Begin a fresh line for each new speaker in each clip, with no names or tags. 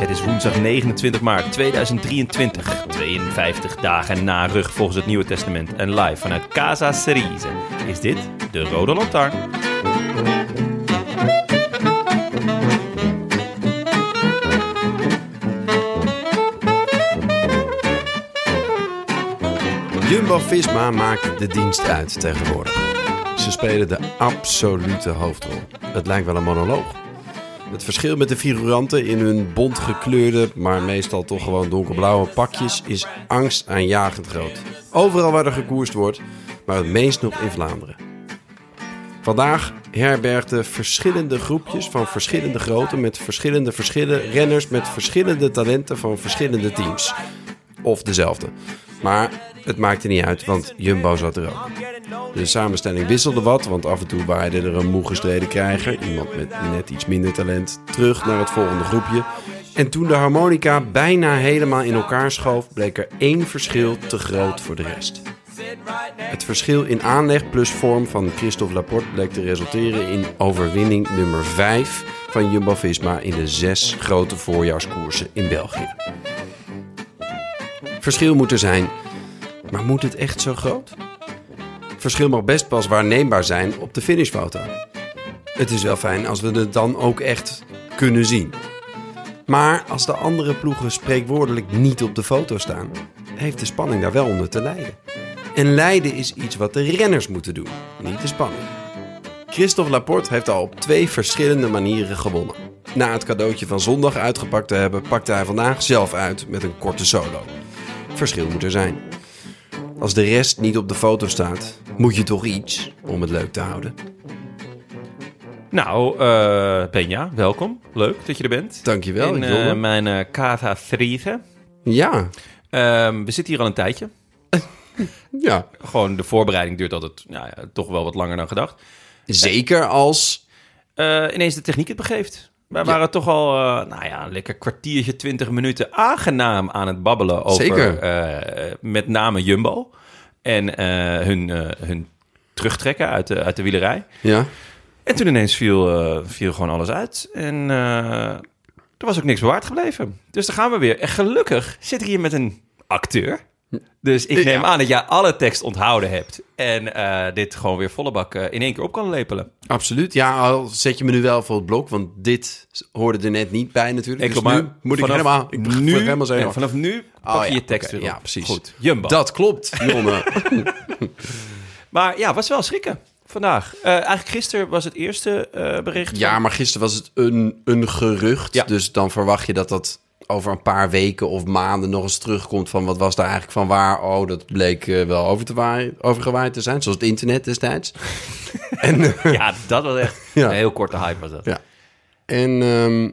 Het is woensdag 29 maart 2023, 52 dagen na rug volgens het Nieuwe Testament. En live vanuit Casa Cerise is dit de Rode Lantaarn.
Jumbo-Visma maakt de dienst uit tegenwoordig. Ze spelen de absolute hoofdrol. Het lijkt wel een monoloog. Het verschil met de figuranten in hun bont gekleurde, maar meestal toch gewoon donkerblauwe pakjes is angstaanjagend groot. Overal waar er gekoerst wordt, maar het meest nog in Vlaanderen. Vandaag herbergden verschillende groepjes van verschillende grootte met verschillende verschillen renners met verschillende talenten van verschillende teams. Of dezelfde. Maar het maakte niet uit, want Jumbo zat er ook. De samenstelling wisselde wat, want af en toe waaide er een moe gestreden krijger, iemand met net iets minder talent, terug naar het volgende groepje. En toen de harmonica bijna helemaal in elkaar schoof, bleek er één verschil te groot voor de rest. Het verschil in aanleg plus vorm van Christophe Laporte bleek te resulteren in overwinning nummer 5 van Jumbo-Visma in de zes grote voorjaarskoersen in België. Verschil moet er zijn, maar moet het echt zo groot? Verschil mag best pas waarneembaar zijn op de finishfoto. Het is wel fijn als we het dan ook echt kunnen zien. Maar als de andere ploegen spreekwoordelijk niet op de foto staan, heeft de spanning daar wel onder te lijden. En lijden is iets wat de renners moeten doen, niet de spanning. Christophe Laporte heeft al op twee verschillende manieren gewonnen. Na het cadeautje van zondag uitgepakt te hebben, pakte hij vandaag zelf uit met een korte solo. Verschil moet er zijn. Als de rest niet op de foto staat, moet je toch iets om het leuk te houden.
Nou, eh Benja, welkom. Leuk dat je er bent.
Dankjewel,
In eh,
jongen.
mijn eh, Casa Cerise.
Ja,
Ehm, we zitten hier al een tijdje.
ja.
Gewoon de voorbereiding duurt altijd nou ja, toch wel wat langer dan gedacht.
Zeker als.
eh, ineens de techniek het begeeft. Wij waren toch al, eh, nou ja, een lekker kwartiertje, twintig minuten aangenaam aan het babbelen over
Zeker.
eh, met name Jumbo en eh, hun, eh, hun terugtrekken uit de, uit de wielerij.
Ja.
En toen ineens viel, eh, viel gewoon alles uit en eh, er was ook niks bewaard gebleven. Dus daar gaan we weer. En gelukkig zit ik hier met een acteur. Dus ik neem aan dat jij alle tekst onthouden hebt en eh, dit gewoon weer volle bak eh, in één keer op kan lepelen.
Absoluut. Ja, al zet je me nu wel voor het blok, want dit hoorde er net niet bij natuurlijk.
Ik
dus
maar
nu moet ik
vanaf
helemaal. Ik begin
nu,
helemaal
ja,
zenuwachtig.
vanaf nu pak
Oh,
je
ja,
je tekst
oké,
weer op.
ja, precies.
Goed, Jumbo.
Dat klopt, Jonne.
Maar ja, was wel schrikken vandaag. Eh, eigenlijk gisteren was het eerste eh, bericht.
ja, maar gisteren was het een, een gerucht.
Ja.
Dus dan verwacht je dat dat over een paar weken of maanden nog eens terugkomt van wat was daar eigenlijk van waar. Oh, dat bleek eh, wel over te waaien, overgewaaid te zijn, zoals het internet destijds. en eh,
van- ja, dat was echt
Ja.
een heel korte hype was dat.
Ja. En ehm,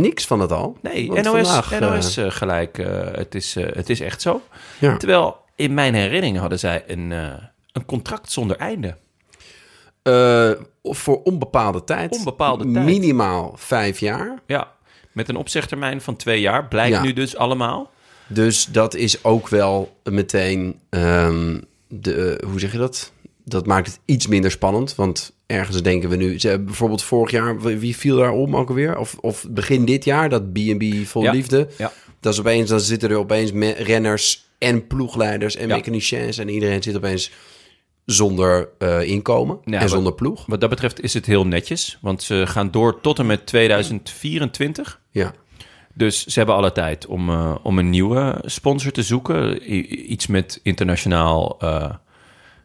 niks van het al.
Nee,
Want
NOS,
vandaag, eh,
NOS eh, gelijk. eh, het, is, eh, het is echt zo.
Ja.
Terwijl in mijn herinnering hadden zij een, eh, een contract zonder einde.
eh, voor onbepaalde tijd.
Onbepaalde tijd.
Minimaal vijf jaar.
Ja, met een opzegtermijn van twee jaar. Blijkt
Ja.
nu dus allemaal.
Dus dat is ook wel meteen... ehm, de, eh, hoe zeg je dat? Dat maakt het iets minder spannend. Want ergens denken we nu... Ze hebben bijvoorbeeld vorig jaar... Wie wie viel daar om ook alweer? Of, of begin dit jaar, dat B&B vol
Ja.
liefde.
Ja.
Dat is opeens, dan zitten er opeens me- renners en ploegleiders en
Ja.
mechaniciens... en iedereen zit opeens zonder eh, inkomen
Ja,
en
maar-
zonder ploeg.
Wat dat betreft is het heel netjes. Want ze gaan door tot en met 2024.
Ja.
Dus ze hebben alle tijd om, eh, om een nieuwe sponsor te zoeken. I- iets met internationaal, eh,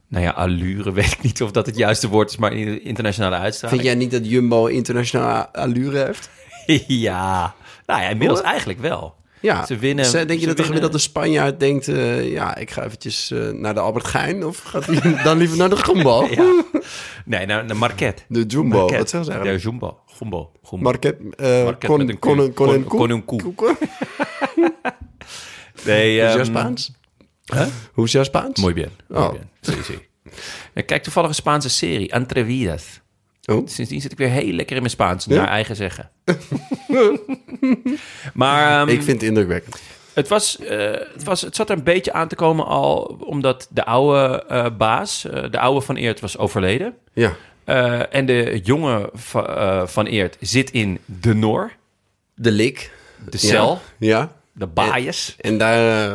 nou ja, allure. Weet ik niet of dat het juiste woord is, maar in- internationale
Vind
uitstraling.
jij niet dat Jumbo internationaal a- allure heeft?
ja, nou ja, inmiddels
Hoor.
eigenlijk wel.
Ja.
Ze winnen-
Ze- denk je
ze
dat de
winnen-
gemiddelde Spanjaard denkt... eh, ja, ik ga eventjes eh, naar de Albert Geijn... of gaat hij dan liever naar de Jumbo?
Ja. Nee, nou, de Marquette.
De Jumbo,
Marquette.
wat zeggen ze
De
eigenlijk?
Jumbo. Jumbo. Jumbo.
Market, eh,
Market
kon,
met een
kon, kon,
koe.
kon,
Kon- kon een koe.
koe-
Nee,
Hoe is jouw
ehm,
Spaans? Hoe is jouw Spaans?
Mooi bien. Mooi
Oh.
bien. Sí, sí. Ik kijk toevallig een Spaanse serie, Entrevidas.
Oh.
Sindsdien zit ik weer heel lekker in mijn Spaans, naar eigen zeggen. maar ehm,
Ik vind het indrukwekkend.
het, was, eh, het, was, het zat er een beetje aan te komen al, omdat de oude eh, baas, eh, de oude van Eert, was overleden.
Ja.
Eh, en de jonge va- eh, van Eert zit in de Nor,
De lik.
de cel,
Ja.
de baaiers.
En daar eh,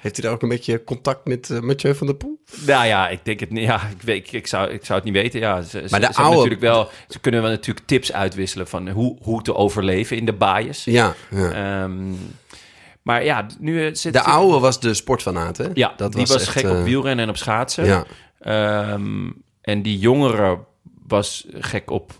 heeft hij daar ook een beetje contact met eh, Mathieu van der Poel?
Nou ja, ik denk het niet. Ja, ik, weet, ik, ik zou, ik zou het niet weten. Ja, ze, ze- ze
de
hebben
oude-
natuurlijk wel, ze kunnen wel natuurlijk tips uitwisselen van hoe, hoe te overleven in de baaiers.
Ja. ja.
Ehm, maar ja, nu eh, zit
de oude was de sportfanaat, hè?
Ja, die was,
echt,
gek
eh,
op wielrennen en op schaatsen.
Ja.
Ehm, en die jongere was gek op.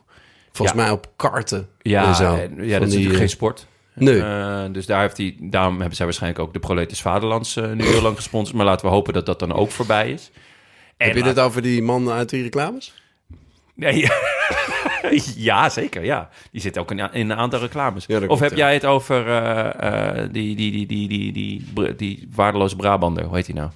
Volgens
Ja.
mij op karten
Ja,
en zo.
en-
Van
ja dat is natuurlijk
die, eh,
geen sport.
Nee.
Eh, dus daar heeft hij, daarom hebben zij waarschijnlijk ook de Proleters Vaderlands eh, nu heel lang gesponsord. Maar laten we hopen dat dat dan ook voorbij is. En
Heb je
laat-
het over die man uit die reclames?
Nee. ja, zeker. Ja. Die zit ook in, in een aantal reclames.
Ja, dat
of
klopt,
heb
ja.
jij het over eh, eh, die, die, die, die, die, die, die, die waardeloze Brabander? Hoe heet hij nou?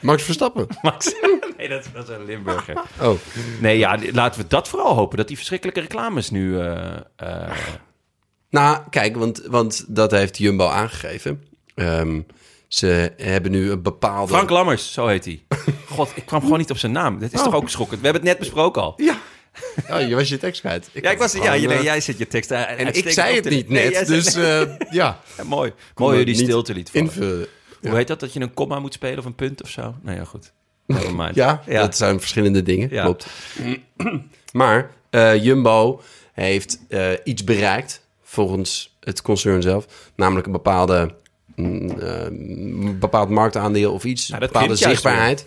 Max Verstappen.
Max? nee, dat, dat is een Limburger.
Oh.
Nee, ja, die- laten we dat vooral hopen. Dat die verschrikkelijke reclames nu... eh, eh,
Nou, kijk, want, want dat heeft Jumbo aangegeven. Ehm, ze hebben nu een bepaalde...
Frank Lammers, zo heet hij. Oh. God, ik kwam gewoon niet op zijn naam. Dit is toch ook schokkend? We hebben het net besproken al.
Ja. Oh, je was je tekst kwijt. Ik
Ja, ik
had
was,
het
ja,
gewoon,
jij,
eh,
jij zit je tekst... En,
En ik zei het niet net, dus eh, ja.
mooi. Mooi hoe je die
Niet
stilte liet vallen.
Invullen.
Hoe heet dat? Dat je een komma moet spelen of een punt of zo? Nou ja, goed. Never mind.
Ja,
ja.
dat zijn verschillende dingen,
Ja.
klopt. Maar eh, Jumbo heeft eh, iets bereikt, volgens het concern zelf. Namelijk een bepaalde, mm, eh, een bepaald marktaandeel of iets.
Nou,
een
dat
bepaalde
krimpt juist
zichtbaarheid.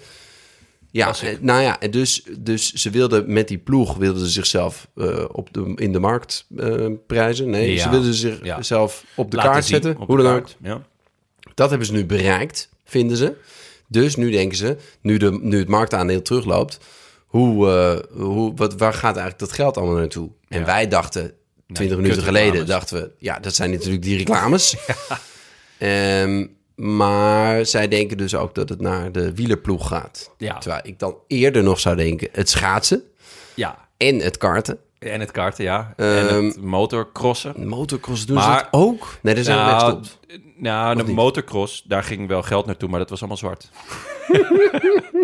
Ja, eh, nou ja, en dus, dus ze wilden met die ploeg wilden ze zichzelf eh, op de, in de markt eh, prijzen. Nee,
Ja.
ze wilden zichzelf op de
Laten
kaart
zien
zetten.
op
Hoe
de
dan ook.
kaart. Ja.
Dat hebben ze nu bereikt, vinden ze. Dus nu denken ze, nu, de, nu het marktaandeel terugloopt, hoe, eh, hoe, wat, waar gaat eigenlijk dat geld allemaal naartoe? En wij dachten, 20 minuten
kutreclames.
geleden, dachten we, ja, dat zijn natuurlijk die reclames. Ehm, maar zij denken dus ook dat het naar de wielerploeg gaat.
Ja.
Terwijl ik dan eerder nog zou denken, het schaatsen
ja.
en het karten.
En het karten, ja.
Ehm,
en het motorcrossen.
Motocross doen
Maar-
ze dat ook? Nee, daar zijn we mee
Nou,
gestopt.
nou, de motocross, daar ging wel geld naartoe, maar dat was allemaal zwart.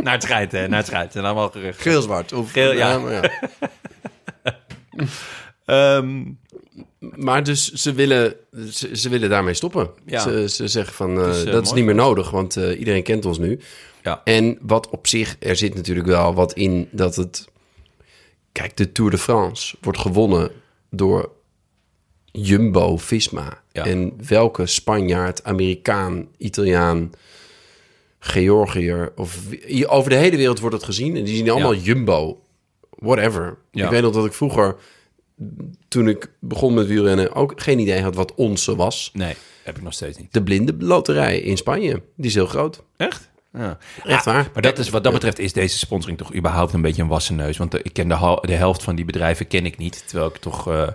naar het schijnt, hè. Naar het schijnt. En allemaal gerucht.
Geel-zwart. of-
Geel, ja.
maar ja.
Ehm,
Maar dus ze willen, ze, ze willen daarmee stoppen.
Ja.
Ze, ze zeggen van eh,
is, eh,
dat is
mooi.
niet meer nodig, want eh, iedereen kent ons nu.
ja.
En wat op zich, er zit natuurlijk wel wat in dat het. Kijk, de Tour de France wordt gewonnen door Jumbo Visma.
Ja.
En welke Spanjaard, Amerikaan, Italiaan, Georgiër of wie- over de hele wereld wordt het gezien. En die zien allemaal
Ja.
Jumbo, whatever.
Ja.
Ik weet nog dat ik vroeger, toen ik begon met wielrennen, ook geen idee had wat onze was.
Nee, heb ik nog steeds niet.
De blinde loterij in Spanje, die is heel groot.
Echt? Ja.
Echt waar.
Maar dat is, wat dat betreft is deze sponsoring toch überhaupt een beetje een wassen neus. Want eh, ik ken de, hal- de helft van die bedrijven ken ik niet. Terwijl ik toch... eh,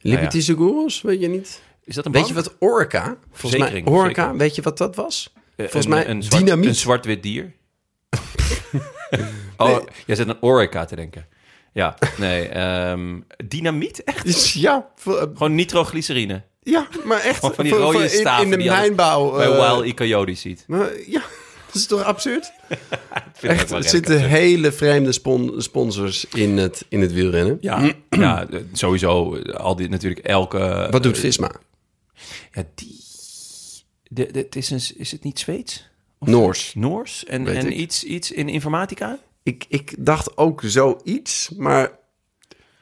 Liberty Seguros, weet je niet?
is dat een
Weet je
bank?
wat Orca? Volgens mij
Verzekering,
Orca,
verzekering.
weet je wat dat was?
Eh,
Volgens
een-
mij
een zwart,
dynamiet.
Een zwart-wit dier. oh, jij zit aan Orica te denken. Ja, nee. ehm, dynamiet? Echt?
ja, vo- eh,
Gewoon nitroglycerine.
ja, maar echt
Gewoon van die
voor- voor-
rode
in-
staven
in, de
die je
mijnbouw.
bij
eh,
Wild E. Coyote ziet.
maar, ja, dat is toch absurd?
Vind ik ook
Echt,
wel
het
redelijk
zitten
absurd.
hele vreemde spon- sponsors in het, in het wielrennen.
Ja, ja, eh, sowieso. eh, Al die, natuurlijk elke...
Wat doet Visma?
Ja, die... De, de- het is, een, is het niet Zweeds?
Noors.
Noors? En,
Weet ik.
en iets, iets in informatica?
Ik, ik dacht ook zoiets, maar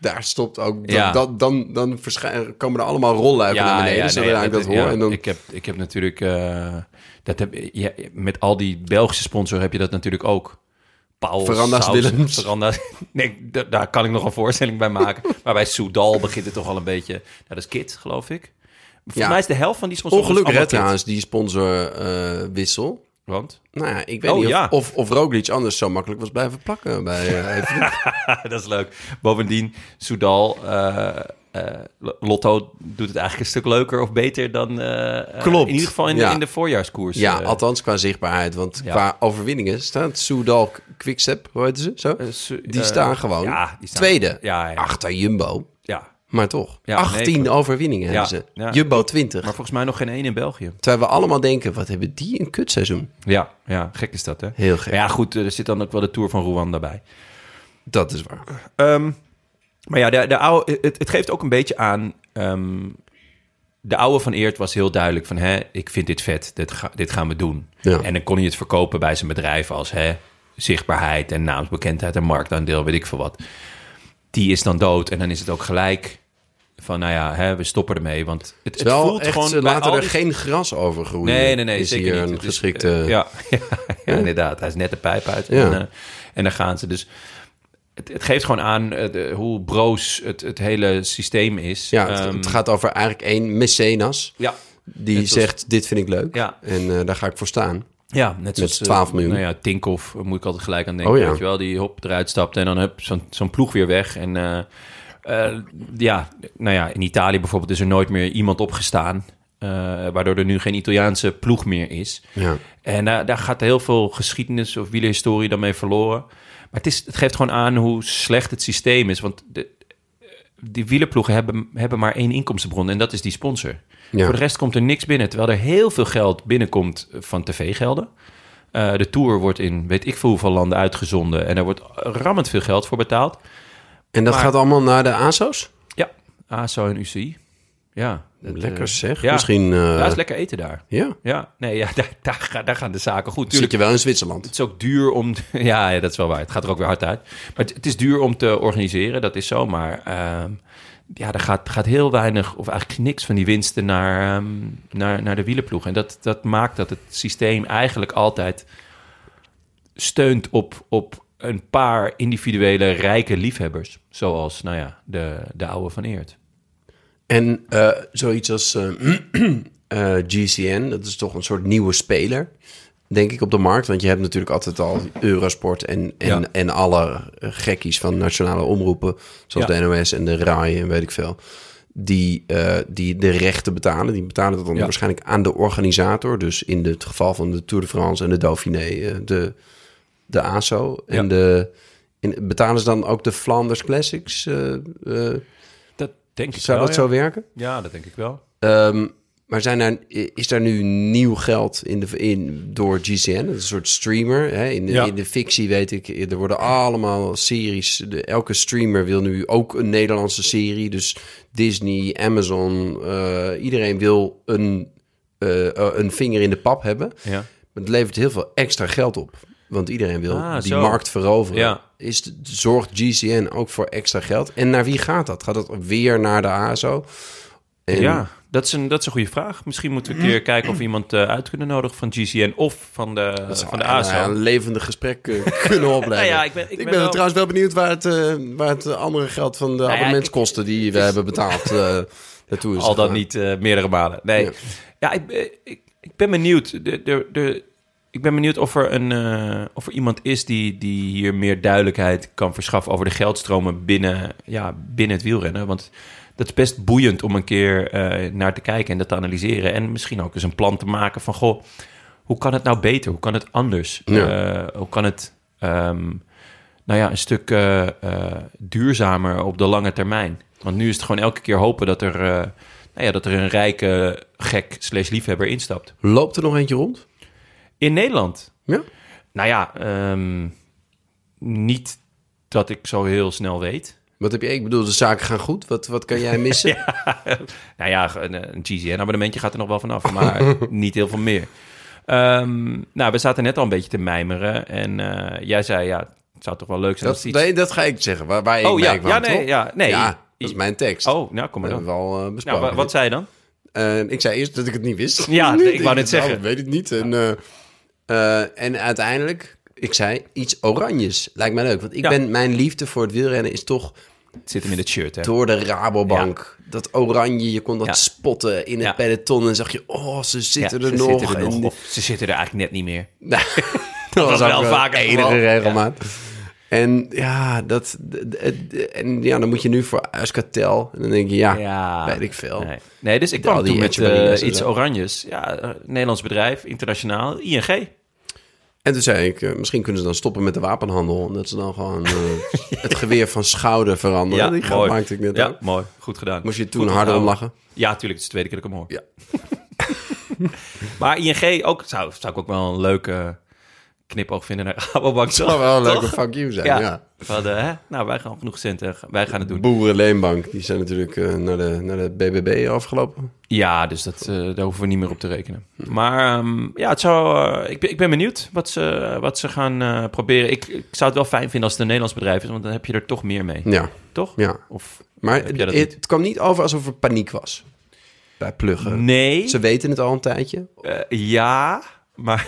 daar stopt ook. Dat,
Ja.
dat- dan dan verschij- komen er allemaal rolluiken naar beneden, zodra
nee,
ik dat hoor.
ja,
en dan,
ik, heb, ik heb natuurlijk... eh, dat heb, ja, met al die Belgische sponsors heb je dat natuurlijk ook. Paul
Veranda's
Sausen,
Willems.
Veranda, nee, da- daar kan ik nog een voorstelling bij maken. maar bij Soudal begint het toch al een beetje... Nou, dat is Kit, geloof ik. Voor
Ja.
mij is de helft van die sponsors... dus
ongelukkig hè,
allemaal Kit.
trouwens, die sponsorwissel. wissel.
Want?
nou ja, ik weet
Oh,
niet of,
ja.
of, of Roglic anders zo makkelijk was blijven plakken. Bij, eh, even-
Ah, dat is leuk. Bovendien, Soudal... eh, eh, Lotto doet het eigenlijk een stuk leuker of beter dan... eh, eh,
Klopt.
In ieder geval in,
Ja.
in de voorjaarskoers.
ja,
eh,
althans qua zichtbaarheid. Want
Ja.
qua overwinningen staat Soudal Quickstep, hoe heet ze? Zo?
eh, Su-
Die
eh,
staan gewoon
ja, die staan-
tweede
Ja, ja.
achter Jumbo.
ja.
Maar toch,
Ja,
18
nee,
overwinningen
Ja,
hebben ze.
ja.
Jumbo 20.
Maar volgens mij nog geen één in België.
Terwijl we allemaal denken, wat hebben die een kutseizoen?
Ja, ja gek is dat, hè?
Heel gek.
Maar ja, goed, eh, er zit dan ook wel de Tour van Rwanda bij.
Dat is waar.
Ehm, maar ja, de, de oude, eh, het, het geeft ook een beetje aan... ehm, de oude van Eert was heel duidelijk van... Hè, ik vind dit vet, dit, ga- dit gaan we doen.
Ja.
En dan kon hij het verkopen bij zijn bedrijf als... Hè, zichtbaarheid en naamsbekendheid en marktaandeel, weet ik veel wat. Die is dan dood en dan is het ook gelijk... van, nou ja, hè, we stoppen ermee. Want het,
Het
het
wel
voelt
echt,
gewoon...
ze
bij
laten
al
er
die-
geen gras over groeien.
Nee, nee, nee.
Is
zeker
hier
niet.
een
Het is,
geschikte...
eh, ja, ja, inderdaad. Hij is net de pijp uit.
Ja.
En, eh, en daar gaan ze. Dus het, het geeft gewoon aan eh, de- hoe broos het, het hele systeem is.
Ja, het,
Ehm,
het gaat over eigenlijk één mecenas.
ja.
Die
net als-
zegt, dit vind ik leuk.
Ja.
En eh, daar ga ik voor staan.
Ja, net zoals... eh,
12 miljoen.
Nou ja, Tinkoff eh, moet ik altijd gelijk aan denken.
Oh ja.
Weet je wel, die hop eruit stapt en dan hup, zo'n zo'n ploeg weer weg. En eh, eh, ja, nou ja, in Italië bijvoorbeeld is er nooit meer iemand opgestaan. eh, waardoor er nu geen Italiaanse ploeg meer is.
Ja.
En daar daar gaat heel veel geschiedenis of wielerhistorie dan mee verloren. Maar het, is, het geeft gewoon aan hoe slecht het systeem is. Want de, die wielerploegen hebben, hebben maar één inkomstenbron en dat is die sponsor.
Ja.
Voor de rest komt er niks binnen. Terwijl er heel veel geld binnenkomt van tv-gelden. Eh, de tour wordt in weet ik veel hoeveel landen uitgezonden. En daar wordt rammend veel geld voor betaald.
En dat
Maar-
gaat allemaal naar de ASO's?
Ja, ASO en UCI. Ja, dat,
Lekker
eh,
zeg.
ja.
Misschien... eh,
Daar is lekker eten daar.
ja.
Ja, nee, ja, daar, daar, gaan- daar gaan de zaken goed.
Zit
Tuurlijk,
je wel in Zwitserland.
het is ook duur om. Ja, ja, dat is wel waar. Het gaat er ook weer hard uit. Maar het, het is duur om te organiseren, dat is zo. Maar ehm, ja, er gaat, gaat heel weinig, of eigenlijk niks van die winsten naar, ehm, naar, naar de wielenploeg. En dat, dat maakt dat het systeem eigenlijk altijd steunt op, op een paar individuele rijke liefhebbers. Zoals, nou ja, de, de oude van Eert.
En eh, zoiets als eh, eh, GCN, dat is toch een soort nieuwe speler, denk ik, op de markt. Want je hebt natuurlijk altijd al Eurosport en, en,
Ja.
en alle eh, gekkies van nationale omroepen, zoals
Ja.
de NOS en de RAI en weet ik veel. Die, eh, die de rechten betalen. Die betalen dat dan
Ja.
waarschijnlijk aan de organisator. Dus in het geval van de Tour de France en de Dauphiné, eh, de, de ASO. En
Ja.
de, in, betalen ze dan ook de Flanders Classics? eh, eh,
Dat denk ik
zou
wel.
dat
ja.
zo werken?
ja, dat denk ik wel.
Ehm, maar zijn er, is daar nu nieuw geld in de, in, door GCN? Dat is een soort streamer. Hè? In, de,
Ja.
in de fictie weet ik, er worden allemaal series. De, elke streamer wil nu ook een Nederlandse serie. Dus Disney, Amazon, eh, iedereen wil een, eh, eh, een vinger in de pap hebben.
Ja.
Maar het levert heel veel extra geld op. Want iedereen wil
Ah,
die
zo.
markt veroveren.
Ja.
Is, de- zorgt GCN ook voor extra geld? En naar wie gaat dat? Gaat dat weer naar de ASO? En-
Ja, dat is, een, dat is een goede vraag. Misschien moeten we een keer kijken of we iemand eh, uit kunnen nodigen van GCN of van de,
Dat zou
van de
een-
ASO.
Een levendig gesprek eh, kunnen opleiden.
Nou ja, ik ben- ik ben wel- Nou
trouwens wel benieuwd waar het, eh, waar het eh, andere geld van de
ja,
abonnementskosten die we hebben betaald eh naartoe is.
Al dan
gegaan.
niet eh, meerdere malen. Nee.
Ja.
Ja, ik, ben- ik, ik ben benieuwd. De, de, de, ik ben benieuwd of er, een, eh, of er iemand is die, die hier meer duidelijkheid kan verschaffen over de geldstromen binnen, ja, binnen het wielrennen. Want dat is best boeiend om een keer eh, naar te kijken en dat te analyseren. En misschien ook eens een plan te maken van: goh, hoe kan het nou beter? Hoe kan het anders?
Ja.
Eh, hoe kan het. ehm, nou ja, een stuk eh, eh, duurzamer op de lange termijn. Want nu is het gewoon elke keer hopen dat er, eh, nou ja, dat er een rijke gek slash liefhebber instapt.
Loopt er nog eentje rond?
In Nederland,
Ja?
nou ja, ehm, niet dat ik zo heel snel weet.
Wat heb je? Ik bedoel, de zaken gaan goed. Wat, wat kan jij missen?
Nou ja, een, een GCN-abonnementje gaat er nog wel vanaf, maar niet heel veel meer. Ehm, nou, we zaten net al een beetje te mijmeren. En eh, jij zei, ja, Het zou toch wel leuk zijn
Dat,
als iets...
nee, dat ga ik zeggen. Waar, waar ik
Oh,
mee
ja,
kwam,
ja, nee,
toch?
ja, nee.
Ja, dat is mijn tekst.
Oh, nou, kom maar
dat
dan.
hebben we al eh,
Nou,
besproken.
wa- wat zei je dan?
En ik zei eerst dat ik het niet wist.
Ja,
Nu
ik
denk
wou net
het
zeggen.
wel, Ik weet het niet. En, eh, eh, en uiteindelijk, ik zei iets oranjes. Lijkt mij leuk. Want ik
Ja.
ben, mijn liefde voor het wielrennen is toch
Het zit hem in het shirt, hè?
door de Rabobank. Dat oranje, je kon dat
Ja.
spotten in het
Ja.
peloton. En zag je, oh, ze
Ja,
zitten
ze
er nog.
Zitten er
En-
nog. Of ze zitten er eigenlijk net niet meer.
Nou, dat
was
ook
wel vaak het
enige
geval.
regelmaat. En ja, dat, d- d- d- en ja, dan moet je nu voor Uskatel. En dan denk je, ja,
Ja.
Ah, weet ik veel.
Nee, nee dus ik
Al
kwam
die
toen met
Echeverria's
eh,
en
iets
zo.
oranjes. Ja, eh, Nederlands bedrijf, internationaal, ING.
En toen zei ik, eh, misschien kunnen ze dan stoppen met de wapenhandel. Omdat ze dan gewoon eh, het geweer van schouder veranderen. Die grap maakte ik net
ja,
ook.
mooi. Goed gedaan.
Moest je
Goed
toen harder om
onthouden.
lachen?
Ja, tuurlijk. Het is de tweede keer dat ik hem hoor.
Ja.
maar ING ook, zou, zou ik ook wel een leuke knipoog vinden naar Rabobank.
Het zou wel een
Toch?
leuke fuck you zijn,
Ja.
ja.
Van, eh, hè? nou, wij gaan genoeg centen. Wij gaan het
De
doen.
boerenleenbank, die zijn natuurlijk eh, naar, de, naar de BBB afgelopen.
Ja, dus dat, eh, daar hoeven we niet meer op te rekenen. Maar ehm, ja, het zou, eh, ik, ben- ik ben benieuwd wat ze, wat ze gaan eh, proberen. Ik, ik zou het wel fijn vinden als het een Nederlands bedrijf is, want dan heb je er toch meer mee.
Ja,
Toch?
ja.
Of,
Maar
Heb jij dat
het,
niet?
het kwam niet over alsof er paniek was bij pluggen.
nee.
Ze weten het al een tijdje.
Eh, ja, maar,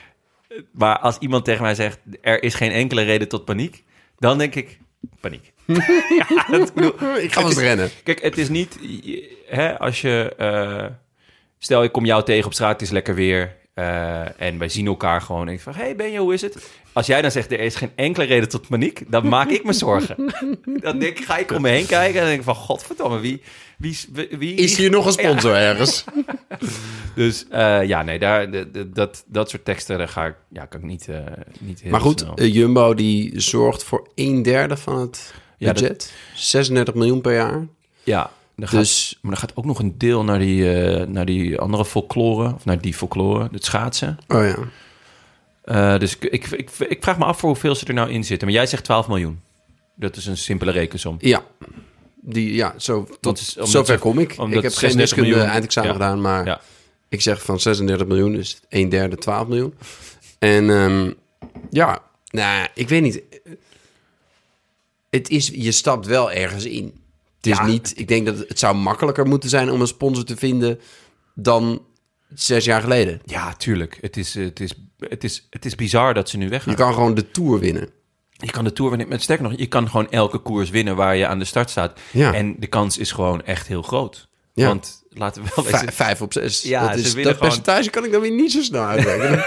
maar als iemand tegen mij zegt: er is geen enkele reden tot paniek, dan denk ik: paniek. ja, dat bedoel,
Ik ga wel eens rennen.
kijk, het is niet je- hè, als je. eh, stel, ik kom jou tegen op straat, het is lekker weer. eh, en wij zien elkaar gewoon. En ik vraag: Hey Benjo, hoe is het? Als jij dan zegt: Er is geen enkele reden tot paniek, dan maak ik me zorgen. dan denk, ik, ga ik om me heen kijken en denk ik: van, Godverdomme, wie. wie, wie, wie
Is hier nog een sponsor ergens?
dus eh, ja, nee, daar, de- de- dat, dat soort teksten daar ga ik, ja, kan ik niet, eh, niet heel
Maar goed,
snel.
eh, Jumbo die zorgt voor een derde van het
Ja, dat-
budget. 36 miljoen per jaar.
ja, er gaat,
Dus
maar er gaat ook nog een deel naar die, eh, naar die andere folklore, of naar die folklore, het schaatsen.
Oh ja.
Eh, dus ik, ik, ik, ik vraag me af voor hoeveel ze er nou in zitten. Maar jij zegt 12 miljoen. Dat is een simpele rekensom.
Ja. Die, ja, zo, tot,
is- omdat
zover
ze-
kom ik.
omdat
Ik heb geen
36
wiskunde
miljoen-
eindexamen
Ja.
gedaan, maar
Ja.
ik zeg van 36 miljoen is een derde 12 miljoen. En ehm, ja, nou, ik weet niet. Het is, je stapt wel ergens in. Het is
Ja.
niet, ik denk dat het, het zou makkelijker moeten zijn om een sponsor te vinden dan zes jaar geleden.
Ja, tuurlijk. Het is, eh, het, is, het, is, het is bizar dat ze nu
Je
weggaan.
kan gewoon de Tour winnen.
Je kan de Tour winnen. Maar sterker nog, je kan gewoon elke koers winnen waar je aan de start staat.
Ja.
En de kans is gewoon echt heel groot.
Ja.
Want laten we wel
Vij-
wezen,
vijf op zes.
Ja,
dat
ze
is, dat
winnen gewoon- Oh.
percentage kan ik dan weer niet zo snel uitrekenen.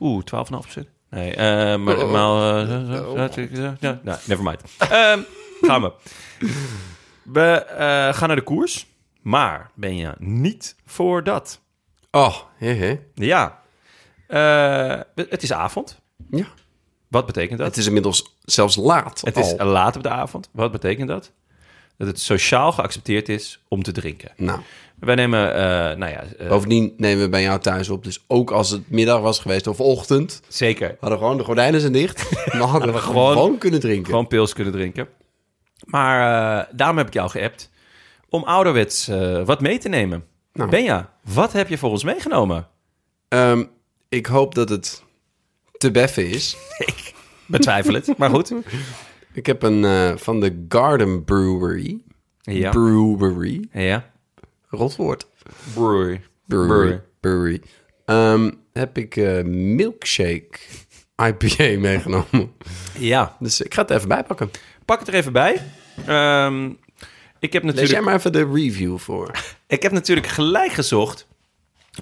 Oeh, 12,5%. Nee, eh, maar
Oh.
maar, eh, zo, zo, zo, zo, zo. Ja, nou, never mind. Ehm, gaan we. We eh, gaan naar de koers. Maar ben je niet voor dat?
Oh, hè, hè.
Ja. Eh, het is avond.
Ja.
Wat betekent dat?
Het is inmiddels zelfs laat.
Het is
al.
laat op de avond. Wat betekent dat? Dat het sociaal geaccepteerd is om te drinken.
Nou,
Wij nemen, eh, nou ja, eh,
bovendien nemen we bij jou thuis op. Dus ook als het middag was geweest of ochtend,
zeker
hadden we gewoon de gordijnen zijn dicht. Dan hadden we gewoon, kunnen drinken.
gewoon pils kunnen drinken. Maar eh, daarom heb ik jou geappt om ouderwets eh, wat mee te nemen.
Nou.
Benja, wat heb je voor ons meegenomen?
Ehm, ik hoop dat het te beffen is.
Betwijfel het, maar goed.
Ik heb een eh, van de Garden Brewery.
Ja.
Brewery.
ja.
Rotwoord.
Brewery.
Brewery. Brewery. Ehm, heb ik eh, milkshake IPA meegenomen.
Ja.
Dus ik ga het er even bij pakken.
Pak het er even bij. Ehm, ik heb
Lees jij
natuurlijk...
maar even de review voor.
Ik heb natuurlijk gelijk gezocht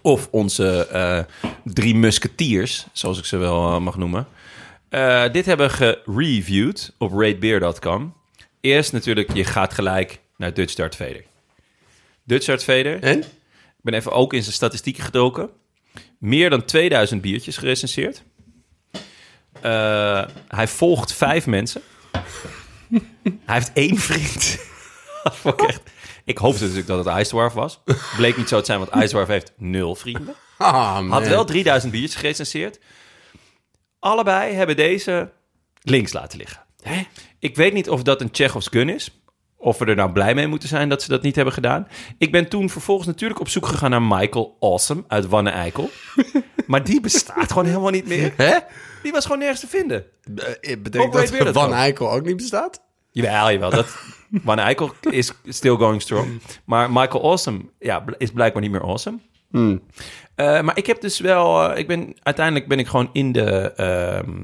of onze eh, drie musketiers, zoals ik ze wel eh, mag noemen, eh, dit hebben gereviewd op ratebeer.com. Eerst natuurlijk, je gaat gelijk naar Dutch Dart Vader. Dutch Dart Vader, ik
En?
ben even ook in zijn statistieken gedoken. Meer dan 2000 biertjes gerecenseerd. Eh, hij volgt vijf mensen. hij heeft één vriend. Dat vond ik, echt... ik hoopte natuurlijk dat het IJsdwarf was. Bleek niet zo te zijn, want IJsdwarf heeft nul vrienden.
Ah, man.
Had wel 3000 biertjes gerecenseerd. Allebei hebben deze links laten liggen. Ik weet niet of dat een Tsjechofs gun is. Of we er nou blij mee moeten zijn dat ze dat niet hebben gedaan. Ik ben toen vervolgens natuurlijk op zoek gegaan naar Michael Awesome uit Wanne-Eikel. Maar die bestaat gewoon helemaal niet meer.
Hè?
Die was gewoon nergens te vinden.
Eh,
Hoe
Betekent
weet weer
dat
dat
Van
dan?
Eikel ook niet bestaat?
Jawel, jawel. Dat, Van Eikel is still going strong. Maar Michael Awesome ja, bl- is blijkbaar niet meer awesome. Eh, maar ik heb dus wel... eh, ik ben, uiteindelijk ben ik gewoon in de ehm,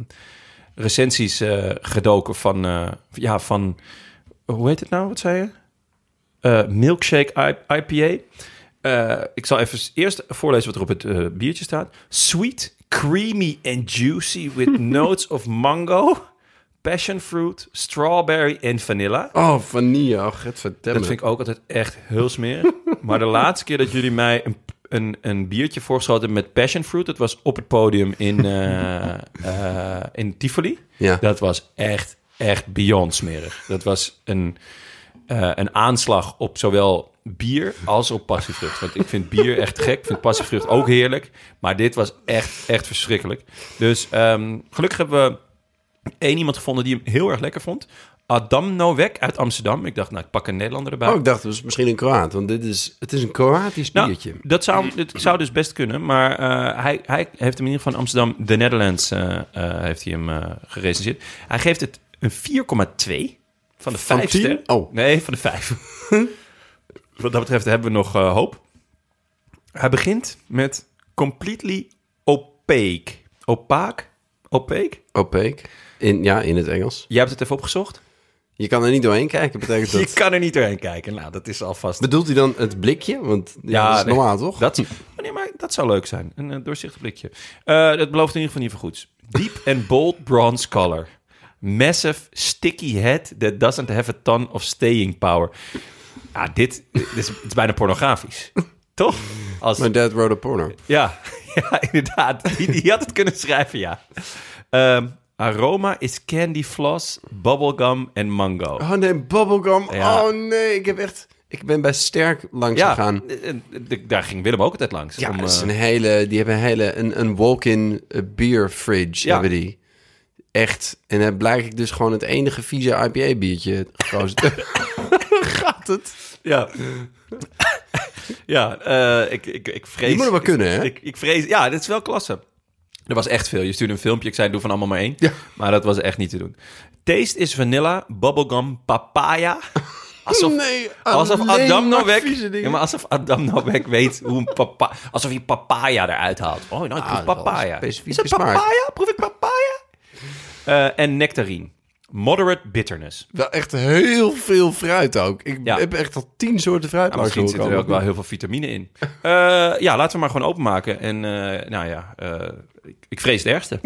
recensies eh, gedoken van... eh, ja, van... Hoe heet het nou? Wat zei je? Eh, milkshake I- IPA. Eh, ik zal even s- eerst voorlezen wat er op het eh, biertje staat. Sweet, creamy and juicy with notes of mango, passion fruit, strawberry en vanilla.
Oh, vanille. Oh, het vertellen.
Dat vind ik ook altijd echt heel smerig. maar de laatste keer dat jullie mij een, een, een biertje voorschoten met passion fruit, dat was op het podium in, eh, eh, in Tivoli.
Ja.
Dat was echt, echt beyond smerig. Dat was een, eh, een aanslag op zowel bier als op passievrucht. Want ik vind bier echt gek, ik vind passievrucht ook heerlijk. Maar dit was echt, echt verschrikkelijk. Dus ehm, gelukkig hebben we één iemand gevonden die hem heel erg lekker vond. Adam Nowek uit Amsterdam. Ik dacht, nou, ik pak een Nederlander erbij.
Oh, ik dacht, het was misschien een Kroaat. Want dit is, het is een Kroatisch
Nou,
biertje.
dat zou, dat zou dus best kunnen. Maar eh, hij, hij heeft hem in ieder geval in Amsterdam, de Netherlands, eh, eh, heeft hij hem eh gerecenseerd. Hij geeft het een 4,2 van de
Van
5
tien?
sterren.
Oh.
Nee, van de 5. Wat dat betreft hebben we nog eh, hoop. Hij begint met completely opaque. Opaak? Opaque?
Opaque. In, ja, in het Engels.
Jij hebt het even opgezocht?
Je kan er niet doorheen kijken, betekent
Je
dat...
kan er niet doorheen kijken. Nou, dat is alvast...
Bedoelt hij dan het blikje? Want ja, dat is
nee.
normaal, toch?
Dat, Oh, nee, maar dat zou leuk zijn. Een eh, doorzichtig blikje. Eh, dat belooft in ieder geval niet voor goeds. Deep and bold bronze color. Massive sticky head that doesn't have a ton of staying power. Ja, dit, dit is, het is bijna pornografisch. Toch? Als,
My dad wrote a porno.
ja, ja, inderdaad. Die, die had het kunnen schrijven, ja. Ehm, aroma is candy floss, bubblegum en mango.
Oh nee, bubblegum.
Ja.
Oh nee, ik heb echt... Ik ben bij Sterk langs
ja,
gegaan.
eh, eh, d- daar ging Willem ook altijd langs.
Ja,
om,
dat is
eh,
een hele, die hebben een hele, een, een walk-in eh, beer fridge
Ja.
hebben die. Echt. En dan blijk ik dus gewoon het enige vieze IPA biertje gekozen. Gaat het?
Ja. ja, eh, ik, ik, ik vrees...
Die moet er wel kunnen, hè?
Ik, ik vrees... Ja, dit is wel klasse. Er was echt veel. Je stuurde een filmpje. Ik zei, doe van allemaal maar één.
Ja.
Maar dat was echt niet te doen. Taste is vanilla, bubblegum, papaya. Alsof,
Nee,
alsof
alleen
Adam
maar
Novak...
vieze dingen.
Ja, maar alsof Adam Novak weet hoe een papa... Alsof je papaya eruit haalt. Oh, nou, ik proef
Ah, wel
papaya. Is
specifieke
het
smaak.
papaya? Proef ik papaya? Eh, en nectarine. Moderate bitterness.
Wel echt heel veel fruit ook. Ik
Ja.
heb echt al tien soorten fruit
Maar
langs
misschien zit
horen
er ook
komen.
wel heel veel vitamine in. Eh, ja, laten we maar gewoon openmaken. En eh, nou ja, eh, ik, ik vrees het ergste.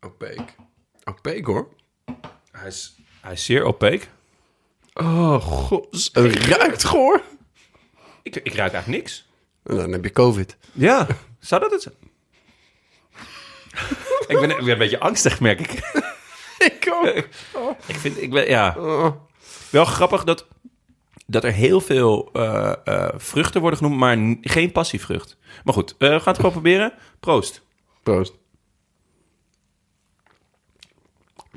Opaque. Opaque hoor.
hij, is, hij is zeer opaque.
Oh god, het ruikt goor.
Ik, ik ruik eigenlijk niks.
En dan heb je covid.
Ja, zou dat het zijn? ik, ben, ik ben een beetje angstig, merk ik. Eh,
Ik ook.
Ik vind, ik ben, ja. Wel grappig dat, dat er heel veel eh, eh, vruchten worden genoemd, maar n- geen passievrucht. Maar goed, eh, we gaan het gewoon proberen. Proost.
Proost.